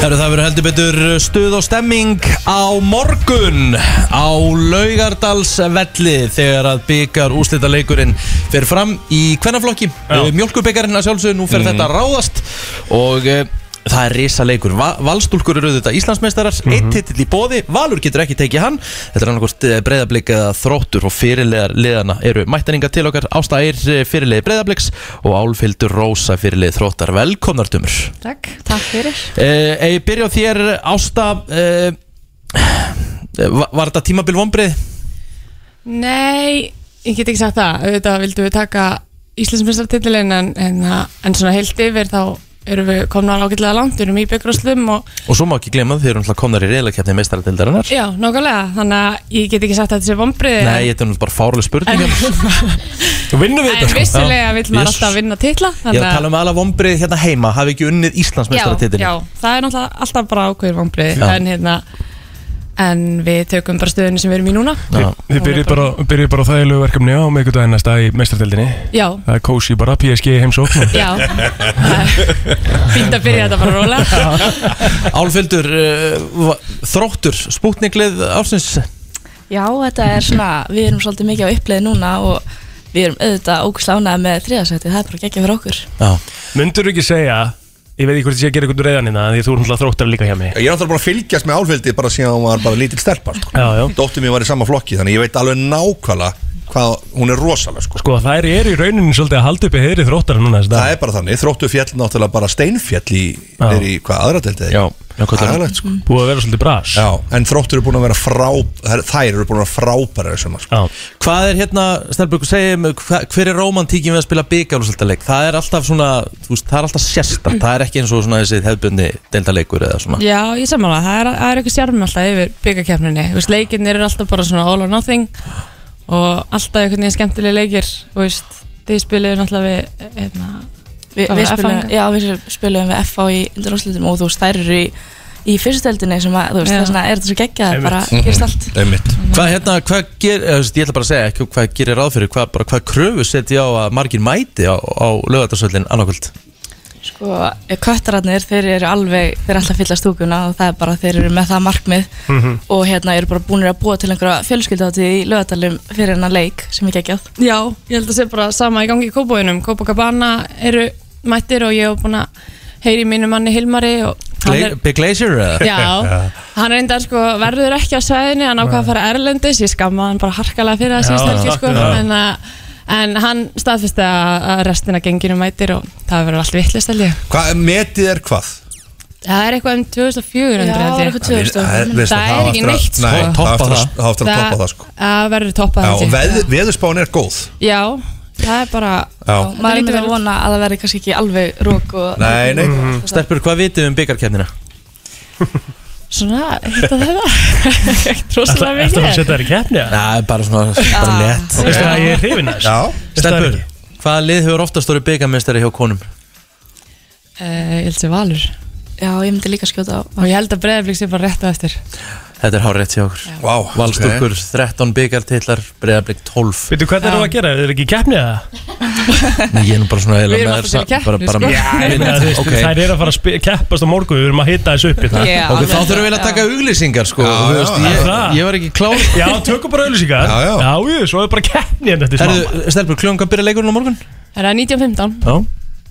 S2: Herru, það verður heldur betur stuð og stemming á morgun á Laugardalsvelli þegar að byggar úslita leikurinn fer fram í hvernaflokki Mjölkubyggarinn að sjálfsögðu, nú fer
S4: Mhm.
S2: þetta að ráðast og eh, það er risa leikur Va Valstúlkur eru auðvitað Íslandsmeistarar Eitt titill í bóði, Valur getur ekki tekið hann Þetta er annarkvort breyðablík eða þróttur og fyrirlegar liðana eru mættaninga til okkar Ásta Eir fyrirlegi breyðablíks og Álfildur Rósa fyrirlegi þróttar Velkomnartumur
S3: Takk, takk fyrir
S2: eh, Ef ég byrja á þér Ásta eh, va- Var þetta tímabil vonbrið?
S15: Nei, ég get ekki sagt það auðvitað vildum við taka Íslandsmestartitilin en, en, en svona heilt yfir þá erum við komin alveg ágætlega langt, við erum í byggrúslum og
S2: Og svo má ekki glemma þau eru náttúrulega komnar í reyðleikefni meistaradildarinnar
S15: já, nákvæmlega, þannig að ég get ekki sagt að þetta sé
S9: Eh.
S15: vombriði
S2: Nei, þetta er nú bara fárlega spurning Þú vinnum við
S4: sko.
S15: En vissulega vill maður alltaf vinna titla
S2: Ég er að tala um aðla vombrið hérna heima Hafi ekki unnið Íslandsmeistaratitil
S15: Já, já, það er náttúrulega alltaf bara ákveður vombrið
S2: Já.
S15: en, hérna, en við tökum bara stöðunni sem við erum í núna
S4: Þi- Þið byrjið bara, byrjið bara á þægilegu verkefni á miðgudaginn næsta í meistardeldinni
S15: Já.
S4: Það er kósi bara PSG í heimsókn og-
S15: Já. Fínt að byrja þetta bara rólega
S2: Álfildur, uh, va- þróttur, spútniklið ársins
S16: Já, þetta er svona, við erum svolítið mikið á uppleið núna og við erum auðvitað ógslánað með þriðasætið, það er bara geggja fyrir okkur.
S4: Myndirðu ekki segja Ég veit ekki hvort ég sé að gera eitthvað reyðanina Því að þú er náttúrulega þróttar líka hjá mig
S9: Ég er náttúrulega bara að fylgjast með álfildi bara síðan hún var bara lítil stelpa sko. Dóttir mér var í sama flokki þannig ég veit alveg nákvæmlega hvað hún er rosalega sko.
S4: Sko þær eru í rauninni svolítið að halda uppi heiðri þróttara núna þess
S9: Það er bara þannig, þróttu fjall náttúrulega bara steinfjall í, er í hvað aðra deltið
S2: Já,
S4: hvað það er.
S15: Mm.
S9: Agalegt, sko.
S4: Búið að vera svolítið bras
S9: Já, en þróttur eru búin að vera frábæra Þær eru búin að vera frábæra þessum sko.
S2: Hvað er hérna, Stelbjörg, segjum Hver er romantíkin við að spila byggarúsaldaleik Það er alltaf svona, þú veist, það er alltaf sérsta Það er ekki eins og svona þessi hefbjörni Deildaleikur eða svona
S15: Já, ég sammála, það er, það er eitthvað sjármi alltaf yfir byggakefninni, þú veist, leikirnir eru alltaf bara svona all or nothing og alltaf einhvern veginn skemmtileg leikir þú veist, þið spiluðu náttúrulega við hérna,
S16: Vi,
S15: hvað var
S16: við,
S15: það,
S16: spilum,
S15: FA?
S16: já, við spilum við FA í undaróslutum og þú veist, þær eru í, í fyrstutöldinni sem að, þú veist,
S15: Já.
S16: þess vegna er þetta svo geggjað, það bara
S15: Mm.
S2: Mhm.
S16: gerist allt.
S9: Mm, Einmitt.
S2: Hvað hérna, hvað ger, eh, þú veist, ég ætla bara að segja ekki hvað gerir ráð fyrir, hvað, bara, hvað kröfu setja á að margir mæti á, á lögatarsöldin annarkvöld?
S16: Sko, köttararnir, þeir eru alveg, þeir eru alltaf að fylla stúkuna og það er bara, þeir eru með það markmið
S17: Mhm.
S16: og hérna eru bara búinir að búa til einhverja fjölskyldatíð í lögadalum fyrir hennar leik sem er geggjað.
S15: Já, ég held að sé bara sama í gangi í kópóinum Kópakabana eru mættir og ég hef búin að heyri í mínu manni Hilmari og hann er,
S2: Big Glacier eða?
S15: Já. hann reyndar sko verður ekki á svæðinni, hann ákvað að fara erlendis ég skamma hann bara harkalega fyrir það
S16: Já,
S15: síðust helgi
S16: takk
S15: sko
S16: fyrir það.
S15: en, að, en hann staðfesti að að restina genginu mættir og það verður allt vittlist held ég
S9: Hvað metið er hvað?
S15: Það er eitthvað um 2400
S16: Já,
S15: held ég.
S16: eitthvað 2400.
S9: Það er- veist
S15: Það
S9: það,
S15: er ekki
S9: það á eftir að-
S15: neitt sko.
S9: nei, það á eftir að- það á eftir að toppa það, sko.
S15: Það verður toppað
S9: Já,
S15: held
S9: og
S15: ég.
S9: veð, veðurspáin er góð
S15: Já, það er bara
S9: Já.
S16: Maður er
S15: lítur vel
S16: með
S15: Mm.
S16: að vona að það verði kannski ekki alveg rók og...
S9: Nei, nei
S2: Stelbjörg, hvað vitið þið um byggarkefnina?
S16: Svona, hitta þetta Ekkert rosalega mikið
S4: þær í keppni?
S2: Næ, bara svona, bara
S16: Ah.
S2: lett
S4: Veistu að ég er hrifinn af þessu?
S2: Já Stelbjörg, hvaða lið hefur oftast orðið byggarmeistari hjá konum?
S15: Eh, Ég held sér valur
S16: Já, ég myndi líka skjóta á
S15: Og ég held að breyðarblik sé bara rétt á eftir
S2: Þetta er hár rétt hjá okkur wow, Valstúkur 13 byggartillar, breyðarblik 12
S4: Veitu hvað þeir eru að gera, þeir eru ekki í keppni eða?
S2: Nei, ég er nú bara svona
S4: Við
S2: eiginlega
S4: erum
S2: með
S4: alltaf til
S2: þér
S4: í
S2: sa- bara,
S4: keppni,
S2: bara
S4: sko. Já, ég meina, þú veist,
S2: okay.
S4: þær eru að fara að spi- keppast á morgun, við erum að hitta þessu upp hérna. í það
S2: Ok, þá þurfum við að taka auglýsingar sko
S4: Já,
S2: þú
S4: já,
S2: veist,
S4: já.
S2: ég,
S4: Það.
S2: ég var ekki klár sko.
S4: Já, tökum bara auðlýsingar
S2: Já, já.
S4: já, svo er bara keppni hérna en þetta
S2: Herðu, Stelbur, kljóðum hvað byrja leikurinn á morgun?
S15: Það er 19.15
S2: Já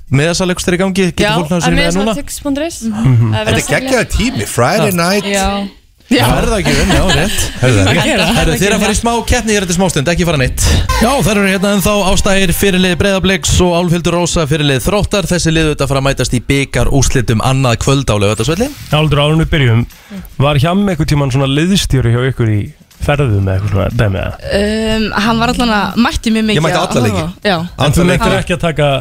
S2: Meðasalegstur í gangi, getur fólk náttúrulega sér með núna
S15: meðsatix.is
S2: Mhm.
S15: Það er verið að
S9: Þetta er
S15: selja.
S9: geggjaður tími, Friday night.
S15: Já.
S2: Já, verða ekki um, já, rétt
S9: Herðu, það.
S2: Herðu, þeir að fara í smá keppni hér eftir smástund, ekki fara neitt Já, það eru hérna ennþá ástæðir fyrirlið Breiðabliks og Álfhildur Rósa fyrirlið Þróttar Þessi liðu þetta fara að mætast í byggar úslitum annað kvöld á lögatarsvelli
S4: Aldur árunni byrjum Var hjá með eitthvað tíman svona liðstjóri hjá ykkur í ferðum eða eitthvað svona dæmi eða?
S16: Um, hann var allan að mætti mjög mikið
S4: Ég mætti
S16: að
S4: alla
S16: horfa.
S4: leiki.
S16: Já
S4: En þú mættir ekki að taka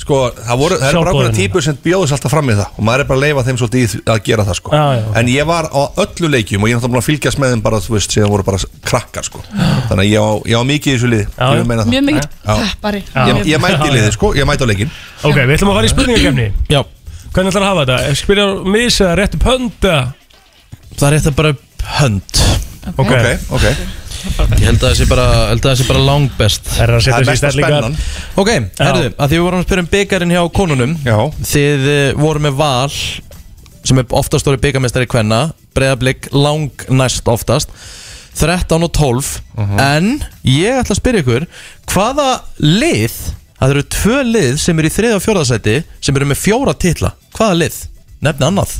S9: Sko, það, voru, það eru bara okkur
S4: Sjálfboðinu.
S9: típur sem bjóðis alltaf fram í það og maður er bara að leifa þeim svolítið í því að gera það sko.
S4: Já, já, ok.
S9: en ég var á öllu leikjum og ég er náttúrulega búin að fylgjast með þeim bara, þú veist, síðan voru bara krakkar sko. þannig að ég á, ég á mikið í þessu liði
S4: Já, já.
S9: ég meina það.
S4: Mjög mikill
S9: Já.
S4: peppari.
S9: ég, ég mæti í liði, sko, ég mæti á leikin
S4: Ok, við ætlum að fara í spurningakefni
S2: Já
S4: Hvernig ætlar að hafa þetta? Ef Spyrja misa, réttu pönda
S2: Það er þetta bara hönd
S4: Ok. Ok,
S9: ok
S2: Ég held að það sé bara, held að það sé bara langbest
S4: Það er að setja Það er sig í mesta stellingar. spennan.
S2: Ok, herðu, að því við vorum að spyrja um byggarinn hjá konunum Já Þið eh, voru með val sem er oftast orðið byggarmestari kvenna Breiðablík lang næst oftast 13 og 12 En ég ætla að spyrja ykkur Hvaða lið Það eru tvö lið sem eru í þriða og fjórðasæti sem eru með fjóra titla Hvaða lið? Nefni annað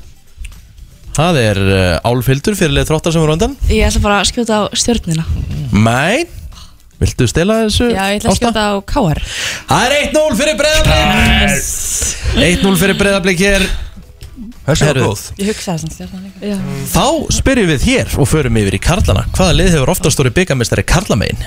S2: Það er eh, Álfhildur fyrir lið þróttar sem voru á undan
S16: Ég ætla bara að skjóta á stjórnina
S2: Mæn Viltu stela þessu?
S16: Mhm. Já, ég ætla að
S2: Ásta?
S16: skjóta á KR
S2: Það er 1-0 fyrir breyðablik 1-0 fyrir breyðablik hér
S9: Þessi
S2: Herru,
S16: Ég hugsa það sem stjórnina líka Já
S2: Þá spyrjum við hér og förum yfir í Karlana Hvaða lið hefur oftast orðið byggamestari Karlamegin?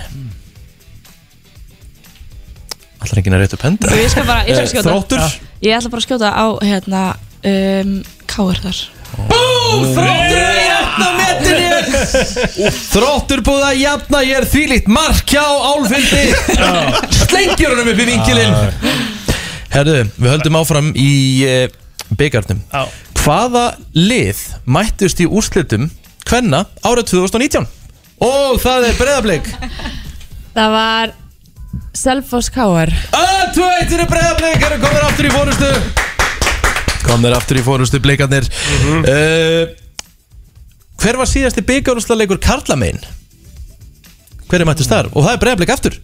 S2: Allar enginn að réttu penda
S16: Ég skal bara, ég skal skjóta
S2: Þróttur
S16: Ég ætla bara að skjóta á, hérna, um, KR þar
S2: Búm, þróttur er að jafna metinni Þróttur búið að jafna Ég er þvílíkt mark hjá álfindi Slengjur honum upp í vinkilinn Herðu, við höldum áfram í uh, byggarnum Hvaða lið mættust í úrslitum hvenna árið 2019? Og það er breyðablík
S15: Það var Selfoss Káar
S2: Öll tvö eittir er breyðablík Erum komin aftur í fórustu Komnir aftur í fórustu blikarnir uh, Hver var síðasti byggarúrslaleikur Karlamein? Hver er mættist þar? Og það er breyðablík aftur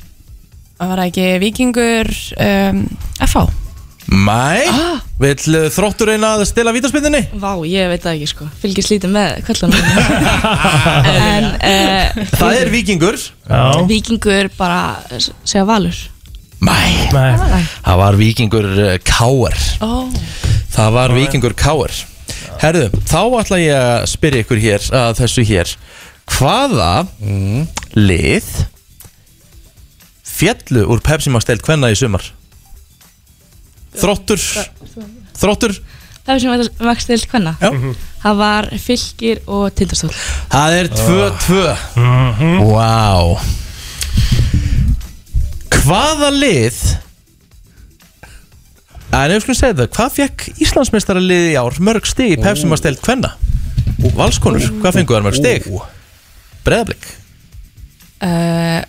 S15: Það var ekki Vikingur um, FH
S2: Mæ, ah. vill eh, þróttur reyna að stela vítaspindinni?
S16: Vá, ég veit það ekki, sko Fylgist lítið með kvöldanum En, uh,
S2: Það er vikingur
S16: Víkingur bara eh, segja valur
S2: Mæ,
S16: Nei.
S2: það var vikingur eh, Káar
S16: Ó
S2: Það var vikingur Káar Herðu, þá ætla ég að spyrja ykkur hér að þessu hér Hvaða Mm. lið fjallu úr Pepsi Max deild hvenna í sumar? Þróttur Þróttur
S16: Það var sem vaks til hvenna
S15: Mhm.
S16: Það var fylgir og tindastól
S2: Það er 2-2 Vá Hvaða lið En ef við skulum segja það Hvað fekk Íslandsmeistara í ár Mörg stig í pepsum að stelt hvenna Valskonur, hvað fengu þær mörg stig Breðablik
S15: uh,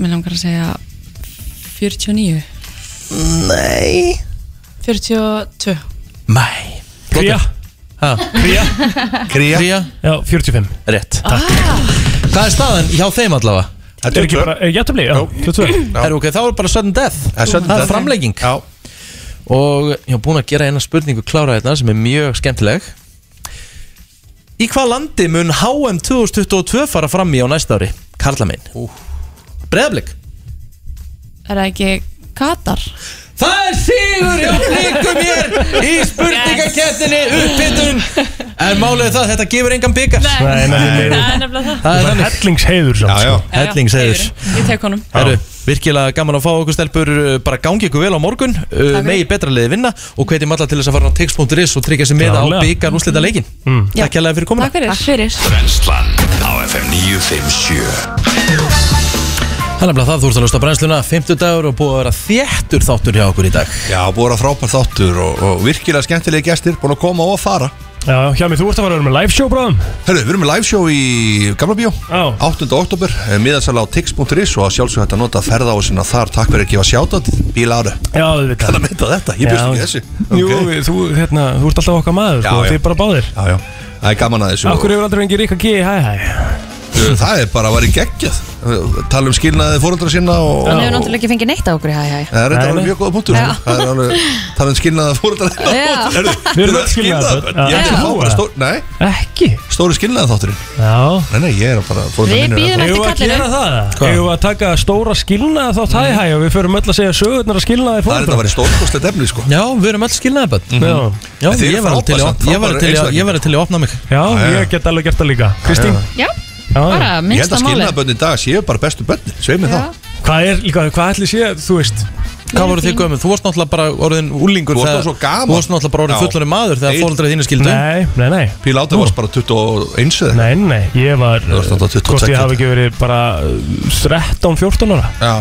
S15: Mér langar að segja 49
S2: Nei
S16: 42
S2: Mæ
S4: Kría Kría
S2: Kría Kría
S4: Já, 45
S2: Rétt Takk Hvað er staðan hjá þeim allavega?
S4: Er ekki bara, er jættumli, já, 22
S2: Er ok, þá er bara sudden death
S4: er sudden
S2: Það
S4: death.
S2: er framlegging Já. Og ég hef búin að gera eina spurningu klára hérna sem er mjög skemmtileg Í hvað landi mun HM 2022 fara fram í á næsta ári? Karla minn uh. Breðablik
S15: Það er ekki Katar
S2: Það er sigur hjá blikum hér í spurningakettinni upphittun En málið er það, þetta gefur engan byggar
S4: Nei, nei, nei, nei. Það er
S15: nefnilega það.
S2: Það er
S4: Það er
S2: þannig
S4: hellingsheiður samt,
S2: Já, já.
S4: sko.
S2: Hellingsheiður
S15: Ég tek honum
S2: Herru, virkilega gaman að fá okkur stelpur uh, bara gangi ykkur vel á morgun uh, megi betra liði vinna og hvetjum alla til þess að fara á tix.is og tryggja sér með á
S1: Klárlega.
S2: byggar úslita leikin mm. Takk hérlega fyrir komuna
S15: Takk fyrir, Takk fyrir.
S1: Brennslan á FM 957
S2: Það er nefnilega það, þú ert að lusta brennsluna 50 dagur og búið að vera þéttur þáttur hjá okkur í dag
S9: Já, búið að vera frábær þáttur og, og virkilega skemmtilegi gestir búin að koma og fara
S4: Já, hjá mig, þú ert að fara að vera með live show bráðum
S9: Herru, við erum með live show í Gamla Bíó 8. oktober, miðansala á tix.is og að sjálfsög hægt að nota ferða á sinna þar takk fyrir að gefa sjátat, bíláru
S4: Já, við veit
S9: Þannig að mynda þetta, ég bjóst ekki þessu
S4: Jú, við- þú, hérna, þú ert alltaf okkar maður, sko,
S9: Já, já.
S4: þið bara báðir
S9: Já, já, það er gaman að þessu og-
S4: Akkur hefur aldrei fengið Ríkka G í hæ hæ
S9: Uh, Það er bara að vera geggjað Uh, Tala um skilnaði fóröldra sinna og,
S3: Hann hefur
S9: og,
S3: náttúrulega ekki fengið neitt á okkur, hæ, hæ
S9: Það er þetta alveg mjög góða punktur
S3: Já.
S9: Það er alveg, tala um skilnaði fóröldra
S3: Já.
S4: Við erum öll skilnaðarbörn.
S9: Ég er
S4: Já.
S9: ekki að fá bara stór, nei
S4: Ekki?
S9: Stóri skilnaði þátturinn
S4: Já
S9: Nei, nei, ég er bara foreldrar mínir eru
S4: Eigum við
S9: ennþá-
S4: að gera það? Hefur að taka stóra skilnaði þátt hæ hæ og við förum öll að segja sögurnar að skilnaði
S9: Það er þetta að
S4: fórhaldra
S9: vera stórkostlegt efni sko
S2: Já, við erum öll skilnaðabönd
S4: Já.
S2: Mm-hmm. Já,
S9: En þið
S2: ég
S9: eru
S2: var til,
S9: frábær samt,
S2: í- ég var
S9: frábærir
S2: til, í að-
S9: einstaklingar.
S2: ég var til í að opna mig
S4: Já,
S9: Já, já.
S4: ég get alveg gert það líka Kristín?
S3: Já,
S4: Já,
S3: bara
S4: já.
S9: Ég held
S3: minnsta
S9: að
S3: máli
S9: skilnaðaböndin í dag séu bara bestu bönnin Sveið mig
S3: Já.
S9: það
S4: Hvað er líka, hvað ætli sé, þú veist
S2: Hvað voru þið gömur? Þú varst náttúrulega bara orðin úlingur
S9: Þú varst
S2: þegar-
S9: þá svo gaman.
S2: Þú varst náttúrulega bara orðin
S9: Já.
S2: fullorinn maður þegar
S9: Eitt-
S2: fóröldra þínu skildu
S4: Nei, nei, nei
S9: Píl Átta varst bara 21 eða
S4: Nei, nei, ég var eh,
S9: Þú varst náttúrulega 22.
S4: Hvort ég hafi ekki verið bara uh, 13, 14 ára
S9: Já,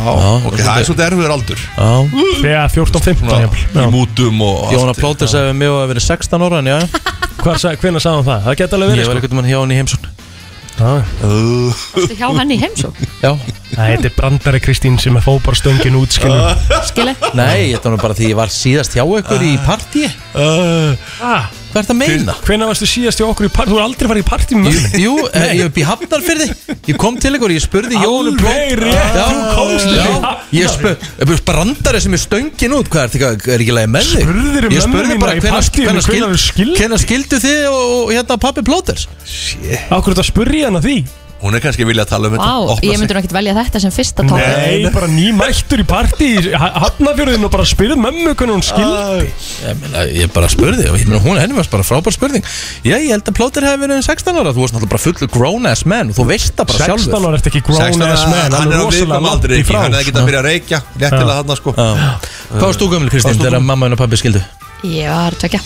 S9: ok, það er svolítið erfiður aldur
S2: Já
S4: Þegar 14, 15 jafnvel.
S9: Í mútum og
S2: Jóna Plóter sagði við mig að vera 16 ára en já
S4: Hvar sa- Hvenær sagði hann það? Það geta
S2: Ég
S4: alveg verið
S2: var
S4: sko.
S2: einhvern veginn hjá henni í heimsókn
S4: Já
S3: Hjá hann í heimsók
S2: Já
S4: Það heiti brandari Kristín sem er fóð bara stöngin út skilur
S3: Skilja
S2: Nei, þetta var nú bara því ég var síðast hjá ykkur í partí Ah. Hvað ert að meina?
S4: Hvenær varstu síðast hjá okkur í partí? Þú er aldrei farið í partí með
S2: Jú, jú, eh, ég er upp í Hafnarfyrði Ég kom til ykkur, ég spurði Jónu
S4: Alveg
S2: Plóter
S4: rétt,
S2: Já,
S4: þú komst til
S2: já, Ég spurði, brandari sem er stöngin út Hvað er þetta, er ekki leið með þig?
S4: Spurðirðu
S2: Ég
S4: mömmu
S2: spurði
S4: þína
S2: bara
S4: í partíinu
S2: um hvenær
S4: hvenær
S2: skil-
S4: þau skildu?
S2: hvenær skildu þið og og hérna pappi Plóters?
S4: Akkur þetta spurði hann að því
S9: Hún er kannski vilja að tala um þetta
S3: Vá,
S9: opna
S3: ég
S9: sig.
S3: myndi nú ekkert velja þetta sem fyrsta tók
S4: Nei, bara nýmættur í partí í Ha- Hafnarfjörðin og bara spyrð mömmu hvernig hún
S2: Ah,
S4: skildi
S2: Ég, meina, ég bara spurði og ég meina, hún henni var bara frábær spurning Já, ég held að plótir hefði verið um 16 ára Þú varst náttúrulega bara fullur grown ass man og þú veist það bara
S4: 16
S2: sjálfur
S4: ára ertu ekki grown
S9: 16
S4: ass
S9: ára,
S4: man,
S9: Hann
S4: alveg
S9: er á
S4: rosalega
S9: viðkvæm
S4: langt
S9: aldrei
S4: í frá,
S9: Hann hefði
S4: sko.
S9: getað að byrja að reykja Léttilega hann sko
S2: Hvað varst þú gömul Kristín
S9: Hvað varst þú
S2: þegar
S9: gömul?
S2: mamma henni og pabbi skildu?
S3: Ég var tvekja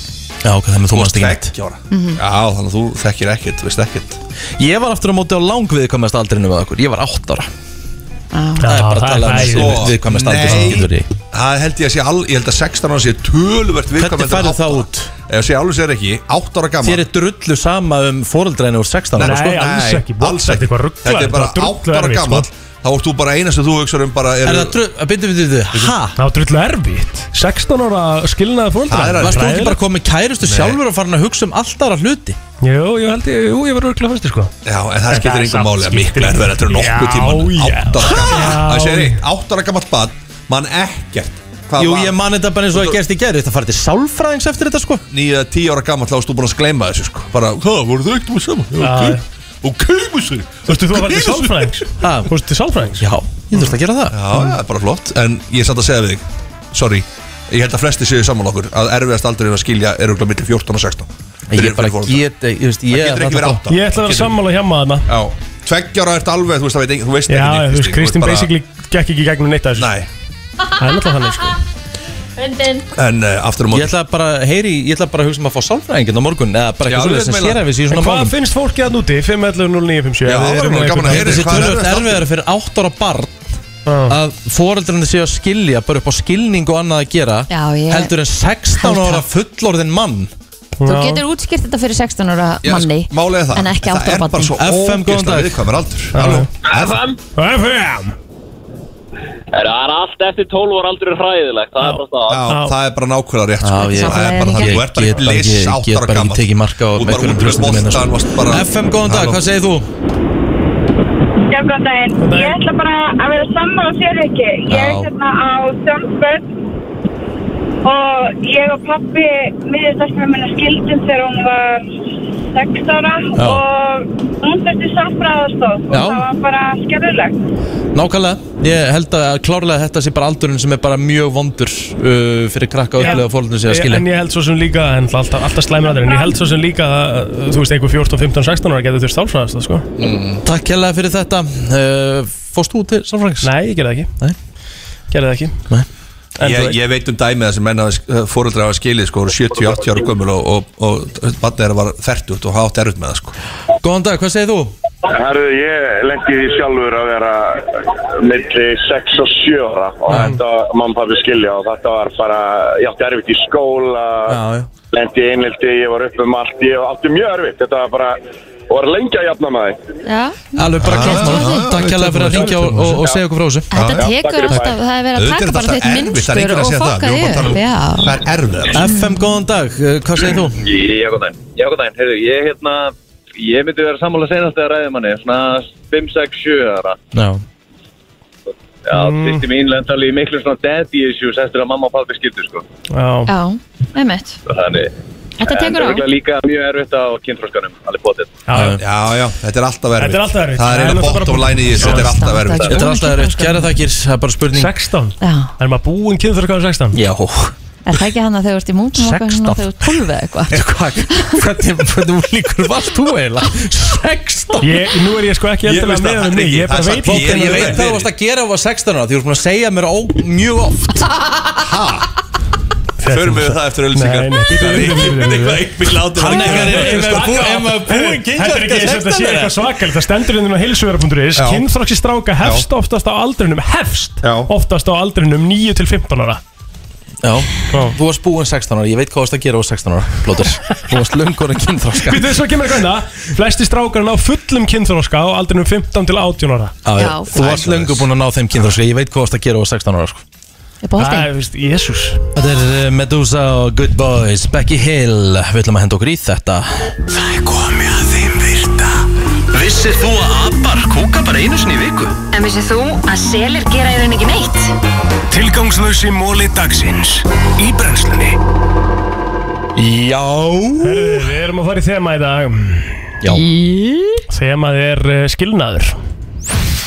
S2: Já, ok, þannig að þú varst ekki neitt
S9: Ekki ára
S4: Mhm.
S9: Já, þannig að þú þekkir ekkert, veist ekkert
S2: Ég var aftur á móti á langviðkvæmast aldrinu með okkur Ég var 8 ára Það er bara að tala um þessi
S9: Sko,
S2: viðkvæmast aldrinu sem
S9: Nei,
S2: getur í
S9: það held ég að sé all, ég held að 16 ára sé töluvert viðkvæmast
S2: færðu það út?
S9: Ef sé alveg sér ekki, 8 ára gaman
S2: Þér er drullu sama um fóreldræðinu úr 16 ára sko.
S9: Nei, alls ekki. Þetta er bara 8 ára
S4: sko.
S9: gaman Þá ert þú bara eina sem þú hugsaður um bara
S2: Er það drullu, byrju, byrju, byrju, ha?
S4: Það var drullu erfitt 16 ára skilnaði fóldra
S2: Varst þú ekki bara komið kærustu sjálfur og farin að hugsa um allt aðra hluti?
S4: Jú, ég held ég, jú, ég var örgulega fyrst sko
S9: Já, en það skiptir
S4: það
S9: engum
S4: samt
S9: máli að
S4: skiptir
S9: miklu er verið þetta er nokkuð
S4: Já, já. Já.
S9: tíma 8 ára gaman Það segir eitt, 8 ára gamalt bad mann ekkert Hvað
S2: Jú,
S9: var-
S2: ég man þetta bara eins og að gerst í gerð Þetta farið til sálfræðings eftir þetta sko
S9: nýja tíu ára gammal þá varst þú búin að skleima þessu sko bara, hvað, voru þau ekkert með saman? Já,
S4: Já.
S9: ok, ok, með sig
S4: Þú veist, þú var til sálfræðings Þú veist, til sálfræðings
S2: Já, ég þurfti að gera það
S9: Já, já, það er bara flott, en ég er samt að segja við þig sorry, ég held að flesti séu saman okkur að erfiðast aldrei að skilja er okkur millir 14 og 16
S2: Ég
S9: Fyrir-
S2: bara
S9: fyrir foreldra.
S2: get, ég veist,
S9: Það
S2: ég
S9: getur ekki verið átta.
S4: Ég ætla að vera sammála hjá maður
S9: Já, tveggjara ert alveg, þú veist, það veit engin- þú veist
S4: Já,
S9: ekki neitt,
S4: þú veist, Kristín
S9: bara-
S4: basically gekk ekki í gegnum neitt að þessu
S9: Nei
S4: Það er náttúrulega þannig sko
S3: Vindin
S9: En uh, aftur á móti
S2: Ég ætla bara, heyri, ég ætla bara að hugsa um að fá sálfræðingin á morgun Eða bara
S9: Já,
S2: eitthvað svolítið
S9: ég
S2: sem
S9: meina.
S2: sér að við séu
S4: En
S2: svona
S4: hvað
S2: málum
S4: finnst fólki að núti? 511-0957
S9: Já, það væri nú gaman að heyra
S2: Þessi
S9: hvað er
S2: tölvöld
S9: erfiðast
S2: erfiðar fyrir 8 ára barn Að foreldrarnir séu að skilja Bara upp á skilning og annað að gera
S3: Já, ég-
S2: Heldur en 16 ára fullorðin mann
S3: Þú getur útskýrt þetta fyrir 16 ára
S9: Já,
S3: manni
S9: sko, Málið er það
S3: En ekki
S9: Það
S3: áttur
S9: er bara
S3: barni
S9: svo
S2: FM, góðan
S9: ógeðslega
S2: dag.
S9: viðkvæmur aldur Halló.
S17: FM
S4: FM
S17: Það er allt eftir 12 ára aldrei hræðilegt Það er bara
S9: Já,
S17: það
S9: það er bara nákvæmlega rétt sko.
S2: Já, ég-
S9: Það er bara það, þú ert bara
S2: Ég get
S9: ekki
S2: bara ekki-
S9: liss
S2: get
S9: áttara
S2: bara ekki
S9: gammal
S2: tekið marka á
S9: Þú bara
S2: einhverjum
S9: út með
S2: hlustum minna,
S9: boltan, varst bara-
S2: sko. FM, góðan dag,
S9: Halló.
S2: hvað segir þú?
S18: Já, góðan daginn. Ég ætla bara að vera sammála þér ekki. Ég er
S2: Já.
S18: hérna á Sjömsbörn og ég og pappi miðjastarfum minna skildum þegar hún var 6 ára
S2: Já.
S18: og hún þurfti sáfræðastof og
S2: Já.
S18: það var bara skerðulegt.
S2: Nákvæmlega, ég held að klárlega þetta sé bara aldurinn sem er bara mjög vondur uh, fyrir krakka og upplega fórhaldinu sér að skilja
S4: En ég held svo sem líka, en alltaf, alltaf slæmur aðeins En ég held svo sem líka, að, uh, þú veist, einhver 14, 15, 16 ára getur þurft sálfræðast það, sko
S2: Takk hérlega fyrir þetta uh, Fórst þú til Sálfræðings?
S4: Nei, ég gerði það ekki
S2: Nei
S4: Gerði það ekki En þú
S9: Ég,
S4: veit-
S9: ég veit um dæmið þessum menn að fóröldra hafa skilið sko, voru 70-80 ára gömul og, og, og barnið þeirra var 30 og hafa átt erfitt með það sko.
S2: Góðan dag, hvað segir þú?
S19: Herru, ég lendi Eh, því sjálfur að vera eh, milli 6 og 7 ára og þetta mann pabbi skilja og þetta var bara, ég átti erfitt í skóla, lendi einlildi, ég var upp um allt, ég átti mjög erfitt, þetta var bara, og var lengi að jafna með því.
S3: Já.
S2: Alveg bara klart maður Takk hérlega fyrir að ringja og, og, og segja okkur frá þessu
S3: Þetta tekur alltaf, það er verið að taka bara þitt minnstur og fokka því
S9: um
S3: upp. Já.
S2: er
S9: sko.
S2: erfið FM, góðan dag, Eh, hvað segir þú?
S20: Ég er daginn, ég er daginn, heyrðu, ég hérna, ég myndi vera sammála senast að ræðum manni, svona 5, 6, 7 ára.
S2: Já.
S20: Já, mm. fyrst í mín lendali í miklu svona daddy issues eftir að mamma og pappi skildu, sko.
S3: Já, með mitt.
S20: Þannig.
S3: Þetta
S20: En
S3: tekur á.
S20: örugglega líka mjög erfitt á kynþróskanum, alveg bótið.
S9: Já, já, já, þetta er alltaf erfitt
S20: Þetta er alltaf erfitt.
S9: Það
S20: Það er
S9: er eina
S20: náttúrulega
S9: bottom
S20: bara-
S9: line í þessu, þetta er alltaf erfitt sko.
S2: Þetta er alltaf erfið, gera þakkir, það er bara spurning
S4: 16?
S3: Já.
S4: Er maður búinn kynþurkaður 16?
S2: Já
S3: Er það ekki hann að þau ert í mútum og hvað þegar þú ert 12 eða eitthvað?
S2: Hvernig hvernig líkur varst þú eiginlega? 16
S4: Ég- nú er ég sko ekki endilega með um mig, ég bara
S2: Það er
S4: veit
S2: satt,
S4: ekki
S2: Ég
S4: hvernig
S2: ég
S4: það
S2: veit
S4: er.
S2: hvað þú varst að gera á 16 ára Því þú varst búin að segja mér ó, mjög oft
S9: Förum við það eftir ölsingar
S4: Nei, nei, bíddu, bíddu, bíddu, bíddu.
S9: Hann
S4: Þetta er ekki eins og þetta sé eitthvað svakalegt Það stendur hérna á heilsuverðar.is
S9: Já.
S4: Kynþroksi stráka hefst oftast á aldrinum Hefst oftast á aldrinum 9 til 15 ára
S2: Já, þú varst búin 16 ára Ég veit hvað þú varst að gera á 16 ára, Plóter Þú varst löngur en kynþroska
S4: Býttu svo kemur eitthvað hérna. Flesti strákar ná fullum kynþroska á aldrinum 15 til 18 ára
S2: Já, já, Þú varst löngu búin að ná þeim kynþroska Ég veit hvað þú varst að gera á 16 ára sko.
S4: Það er, veist, jésús
S2: Þetta er eh, Medusa og Good Boys Becky Hill, við ætlum að henda okkur í þetta
S1: Það er komið að þeim virta Vissir þú að abar kúka bara einu sinni í viku?
S21: En vissið þú að selir gera í rauninni ekki neitt?
S1: Tilgangslösi móli dagsins Í brennslunni
S2: Já
S4: Við erum að fara í þema í dag
S2: Já
S4: Þemað er eh, skilnaður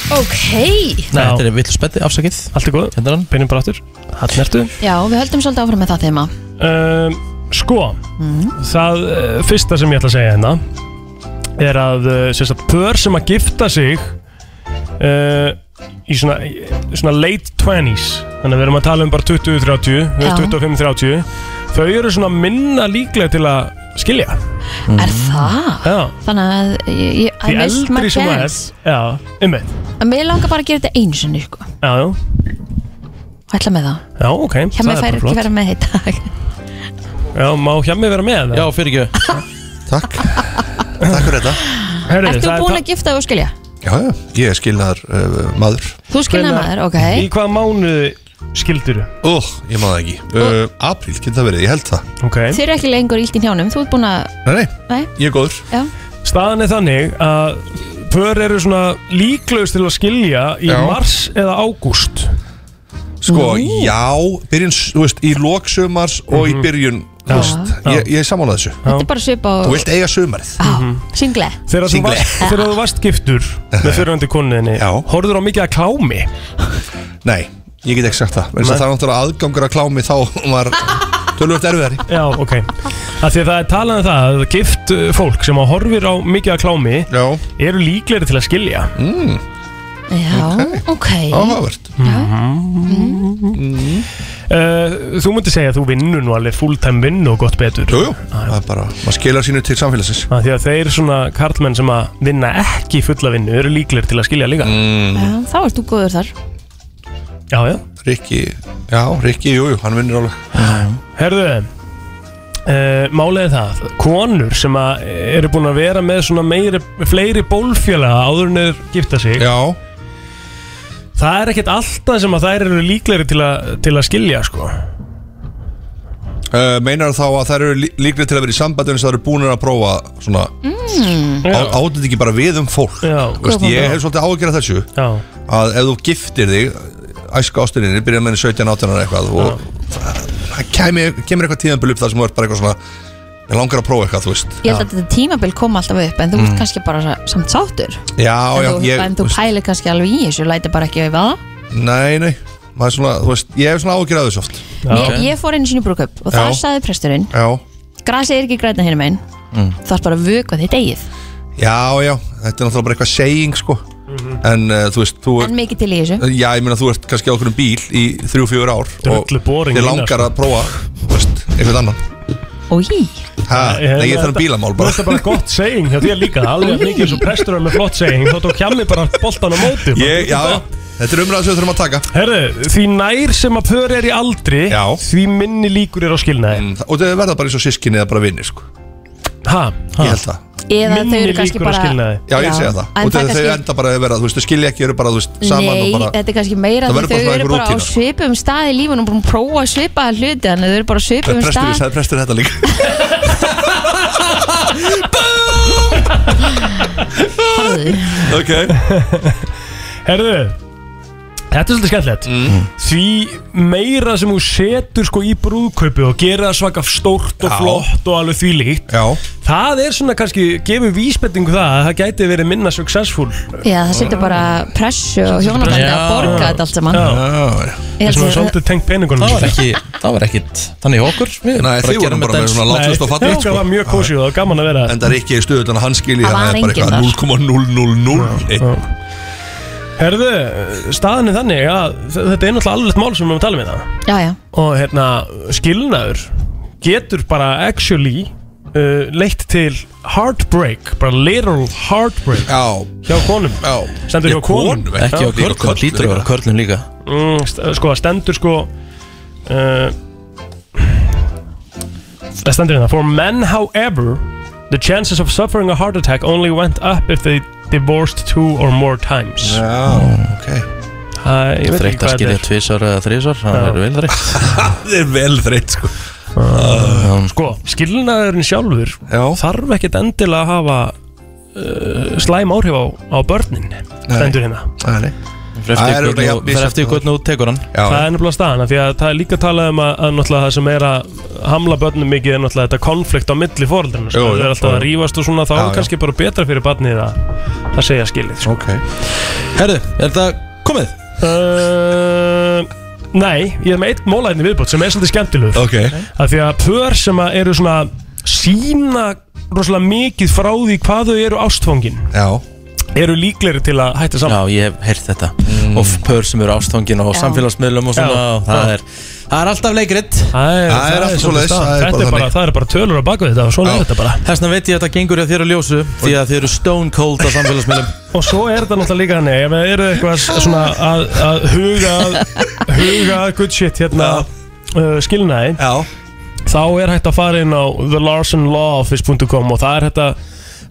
S3: Ok.
S4: Nei,
S2: þetta er villu spetti, afsakið
S4: Allt er góð,
S2: hérna hann,
S4: beinum bara áttur Hann ertu
S3: Já, við höldum svolítið áfram með það þema.
S4: um, Sko
S3: Mhm.
S4: Það uh, fyrsta sem ég ætla að segja hérna Er að uh, sem sagt, Pör sem að gifta sig uh, Í svona, í svona Late 20s Þannig að við erum að tala um bara 20-30
S3: Já.
S4: 25-30 Þau eru svona minna líklega til að skilja
S3: Er það?
S4: Já
S3: Þannig að ég, ég,
S4: Því
S3: I missed my
S4: eldri sem að er
S3: chance.
S4: Já, einmitt
S3: En mér langar bara að gera þetta einu sinni, sko.
S4: Já, já,
S3: Og ætla með það.
S4: já, ok
S3: Hjá
S4: það
S3: mig
S4: er
S3: fær
S4: bara
S3: ekki
S4: flott.
S3: vera með í dag.
S4: Já, má hjá mig vera með
S2: Já, fyrir ekki
S9: Takk Takk fyrir þetta
S3: Ert þú búin að gifta þig og skilja?
S9: Já, já, ég er skilnaðar uh, maður
S3: Þú skilnaði maður, ok.
S4: Í hvaða mánuði skildur
S9: Ó, ég maður það ekki uh, Apríl, getur það verið, ég held það
S4: okay.
S3: Þið eru ekki lengur ílt í njánum, þú ert búin að...
S9: Nei,
S3: Nei?
S9: nei, ég er góður
S3: Já.
S4: Staðan er þannig að pör eru svona líklaust til að skilja í
S9: Já.
S4: mars eða ágúst
S9: Sko,
S4: Nú.
S9: já, byrjun, þú veist, í loksumars og í byrjun, þú
S4: Já.
S9: veist, ég, ég er sammálað þessu
S3: Þetta er bara svip á...
S9: Þú vilt eiga sumarið
S4: Mhm.
S3: Single.
S4: Þegar þú
S9: Single.
S4: varst, þegar þú varst giftur með fyrirvöndi koninni Horður á mikið að klámi?
S9: Nei, ég get ekki sagt það Vegna þess að
S4: Nei.
S9: Það er náttúrulega aðgangur að klámi þá var tölvöld erfiðari
S4: Já, ok að Því að það er talað um það að gift uh, fólk sem að horfir á mikið að klámi
S9: Já.
S4: eru líklegri til að skilja mm.
S3: Já, ok.
S9: Áhugavert.
S4: Uh, þú myndir segja að þú vinnur nú alveg fulltime vinnu og gott betur Jú, jú,
S9: Það er bara, maður skilar sínu til samfélagsins
S4: að því að þeir svona karlmenn sem að vinna ekki fulla vinnu eru líklegir til að skilja líka
S9: mm.
S3: Já, Þá ert þú góður þar.
S4: já, já.
S9: Rikki, já, Rikki, jú, jú, hann vinnur alveg
S4: Herðu uh, Málið er það Konur sem að eru búin að vera með svona meiri, fleiri bólfélaga áður en þeir gifta sig
S9: Já
S4: Það er ekkert alltaf sem að þær eru líklegri til, að til að skilja sko
S9: uh, Meinar þá að þær eru lí- líklegir til að vera í sambandi eins og þær eru búin að prófa svona
S3: Mm.
S9: á- Átönd ekki bara við um fólk
S4: Já,
S9: Þú veist, Ég hef svolítið áhyggjur af þessu
S4: Já.
S9: að ef þú giftir þig æska ástuninni, byrja með henni 17 18 ára eitthvað og það það kæmi- kemur eitthvað tíðanbili upp þar sem þú ert bara eitthvað svona ég langar að prófa eitthvað, þú veist
S3: Ég held að þetta tímabil kom alltaf upp en þú ert
S9: Mm.
S3: kannski bara sa- samt sáttur
S9: Já,
S3: en,
S9: já,
S3: þú,
S9: ég,
S3: en þú pælir kannski alveg í þessu læti bara ekki auðvitað
S9: Nei, nei, maður er svona, þú veist, ég hef svona ágjur að þessu oft
S3: ég, ég fór einu sinni í brúkup og það
S9: Já.
S3: saði presturinn
S9: Já,
S3: grasið er ekki græna hérna megin
S9: Mm.
S3: þú þarf bara að vöka þitt eigið
S9: já, já, þetta er náttúrulega bara eitthvað seying, sko En uh, þú veist, þú
S3: en mikið til í þessu
S9: Já, ég meina þú ert kannski á okkur um bíl í 3-4 ár
S4: Drullu boring
S9: og þið
S4: lína,
S9: langar
S4: sko.
S9: að prófa, þú veist, eitthvað annan
S3: Í,
S9: Ha,
S4: Ég hef-
S9: nei, ég þarf um bílamál bara.
S4: Þetta er bara gott seging hjá þér líka Alveg jafn mikið eins og prestur er með flott seging Þá tók hjálmi bara boltan á móti bara.
S9: Ég, já, já, þetta er umræð sem við þurfum að taka
S4: Herðu, því nær sem að pör er í aldri já. Því minni líkur er á skilnaði
S9: mm, Og þau verða bara eins og sískinni eða bara vinnir sko.
S4: ha, ha.
S9: Ég held það
S3: eða þau eru kannski bara
S9: Já, ég segja það
S3: En það
S9: Og þau þau
S3: kannski
S9: enda bara að vera, þú veist, þau skilja ekki, eru bara, þú veist, saman
S3: Nei,
S9: og bara
S3: þetta er kannski meira
S9: Það
S3: því
S9: verður
S3: þau
S9: bara svona
S3: eru
S9: einhver
S3: bara
S9: rútína,
S3: á
S9: sko.
S3: svipum stað í lífunum og búin að prófa að svipa að hluti þannig að þau eru bara á svipum
S9: Prestur,
S3: stað
S9: sagði prestur þetta líka Ok
S4: Herðu Þetta er svolítið skemmtilegt
S9: Mm.
S4: Því meira sem þú setur sko í brúðkaupi og gera það svaka stórt og
S9: Já.
S4: flott og alveg því líkt
S9: Já.
S4: Það er svona kannski, gefur vísbendingu um það að það gæti verið minna successful
S3: Já, það setur bara pressu og hjónabandi að borga þetta allt saman
S9: Já,
S3: Ég held
S4: Þessum
S3: að-
S4: við svolítið tengt peningunum
S2: Það var ekki, það var ekkit Þannig hjá okkur Við
S9: Nei, þið vorum bara með svona látlust og fattig
S4: Það var mjög kósi og það var gaman að vera
S9: En það er ekki í stöðu þannig að hann skilji
S4: Það var
S9: er bara
S4: enginn
S9: eitthvað
S4: þar.
S9: 0,0001
S4: Herðu, staðan er þannig að þetta er náttúrulega alveg mál sem við erum að tala um þetta
S3: Já, já,
S4: og hérna, skilnaður getur bara actually uh, leitt til heartbreak bara literal heartbreak
S9: já.
S4: hjá konum
S9: já.
S4: stendur hjá konum
S2: Ekki
S4: Já.
S2: á körlun Lítur að vera á körlun líka
S4: mm, st- sko, það stendur sko uh, það stendur hérna for men however the chances of suffering a heart attack only went up if they divorced two or more times
S9: já, ok
S2: Þreytt að skilja tvisar eða þrísar Það
S4: Já.
S2: er vel þreytt
S9: Það er vel þreytt sko
S4: Sko, skilnaðurinn sjálfur
S9: Já.
S4: þarf ekkert endilega að hafa uh, slæm áhrif á, á börnin stendur hérna
S9: Nei, nei
S2: Fer eftir
S4: Það er
S2: hvernig
S4: örugglega
S2: þú-
S4: jafn
S2: fer eftir hvernig þú tekur hann
S4: það er nefnilega staðan af því að það er líka talað um að, að náttúrulega það sem er að hamla börnum mikið er náttúrulega þetta konflikt á milli fóreldrarna sko.
S2: Jú, jú.
S4: það er alltaf að rífast og svona þá
S2: Já,
S4: er
S2: já.
S4: kannski bara betra fyrir barnið að, að segja skilið sko.
S9: okay.
S2: Herðu, er þetta komið?
S4: Uh, nei, ég er með eitt mólæðin viðbót sem er svolítið skemmtilegur
S9: okay.
S4: að því að pör sem að eru svona sína rosalega mikið frá því hvað þau eru ástfóngin
S9: Já
S4: eru líklegri til að hætta saman
S2: Já, ég hef heyrt þetta Og pör sem eru ástfangin og
S4: Já.
S2: samfélagsmiðlum og svona
S4: Já.
S2: og Það
S4: Já.
S2: er Það er alltaf leikrit
S4: Það er,
S2: Það er alltaf svoleiðis,
S4: staðan.
S2: það er bara
S4: Þetta er bara,
S2: þannig.
S4: það er bara tölur á baku þetta og svona er þetta bara
S2: Þessna veit ég að þetta gengur hjá þér að ljósu Því að þið eru stone cold á samfélagsmiðlum
S4: Og svo er þetta náttúrulega líka þannig Ef það eru eitthvað s- svona að, að huga að, Huga að good shit hérna uh, Skilnaði
S9: Já.
S4: Þá er hægt að fara inn á thelarsonlawoffice.com Og það er hægt að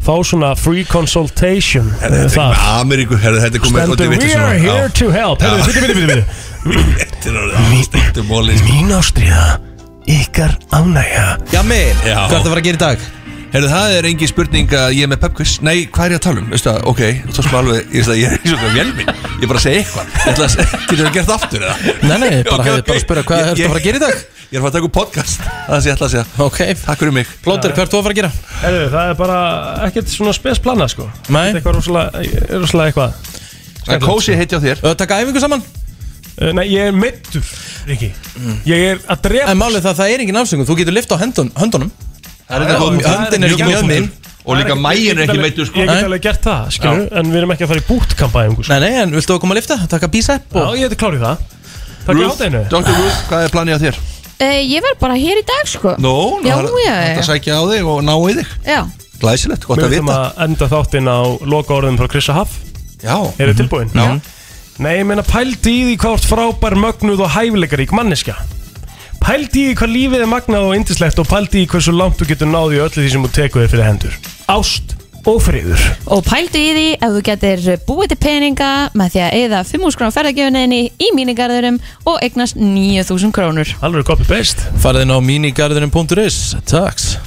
S4: fá svona free consultation
S9: Herðu,
S4: uh,
S9: þetta er
S4: þar.
S9: með Ameríku, herðu, þetta er komið
S4: Stendur, we are here to help Herðu, byrju, byrju, byrju, byrju
S9: Þetta er móli
S4: Mín ástriða, ykkar ánægja
S2: Jammi,
S9: Já.
S2: hvað ertu að fara að gera í dag?
S9: Herðu, það er engin spurning að ég er með pepkvist Nei, hvað er ég að tala um? Veistu það, ok, þú tókst mig alveg Ég, veist það, ég er eins og það vélmi Ég er bara að segja eitthvað Ég ætla að segja- Getur það gert aftur eða?
S2: Nei, nei, bara-
S9: Ok,
S2: hefði
S9: ok.
S2: bara að spyrja, hvað
S9: Ég-
S2: ertu að fara að gera í dag?
S9: Ég er að fara að taka upp podcast Það er það sem ég ætla að segja
S2: Ok
S9: Takk fyrir mig
S2: Plóter, hvað ertu að fara að gera?
S4: Herðu, það er bara ekkert svona spes plana sko
S2: Nei
S4: Eitthvað rosalega, rosalega eitthvað
S9: En Kósi heitja á þér
S2: Ö, Takk æfingu saman
S4: Uh, Nei, ég er meittur, Riki Ég er að drepa
S2: En málið það, það er engin afsöngum Þú getur lift á höndun, höndunum
S9: Það er þetta góð punktur.
S2: Höndin er
S9: Mjög
S2: ekki
S9: góð
S2: mjög minn
S9: punktur. Og líka maginn er ekki meiddur, sko.
S4: Ég
S2: Nei.
S4: get alveg gert það, skilur En við erum ekki að fara í bútkampa einhver
S2: Nei, nei, en viltu að koma að lifta? Taka bísepp
S4: Já, ég hefði klárið það Takk fyrir hátæðinu
S9: Dr. Ruth, hvað er planið á þér?
S3: Eh, ég verð bara hér í dag sko
S9: Nó, nú
S3: Já,
S9: er
S3: já, já.
S9: þetta að sækja á þig og ná í þig
S3: Já,
S9: Glæsilegt, gott
S4: Við
S9: að
S4: ætlum
S9: vita
S4: að enda þáttinn á loka orðum frá Krissa Haff
S9: Já
S2: Mhm.
S4: Er þið tilbúin? Já Nei, ég meina pældi í því hvað ert frábær, mögnuð og hæfileikarík manneskja Pældi í því hvað lífið er magnað og indislegt og pældi í hversu langt þú getur náði öllu því sem þú tekur þér fyrir hendur Ást og friður
S3: og pældu í því ef þú getur búið til peninga með því að eða 5.000 krónur ferðargefuninni í mínigarðurum og eignast 9.000 krónur
S4: Alveg copy-paste
S2: Farðin á minigarðinum.is Takks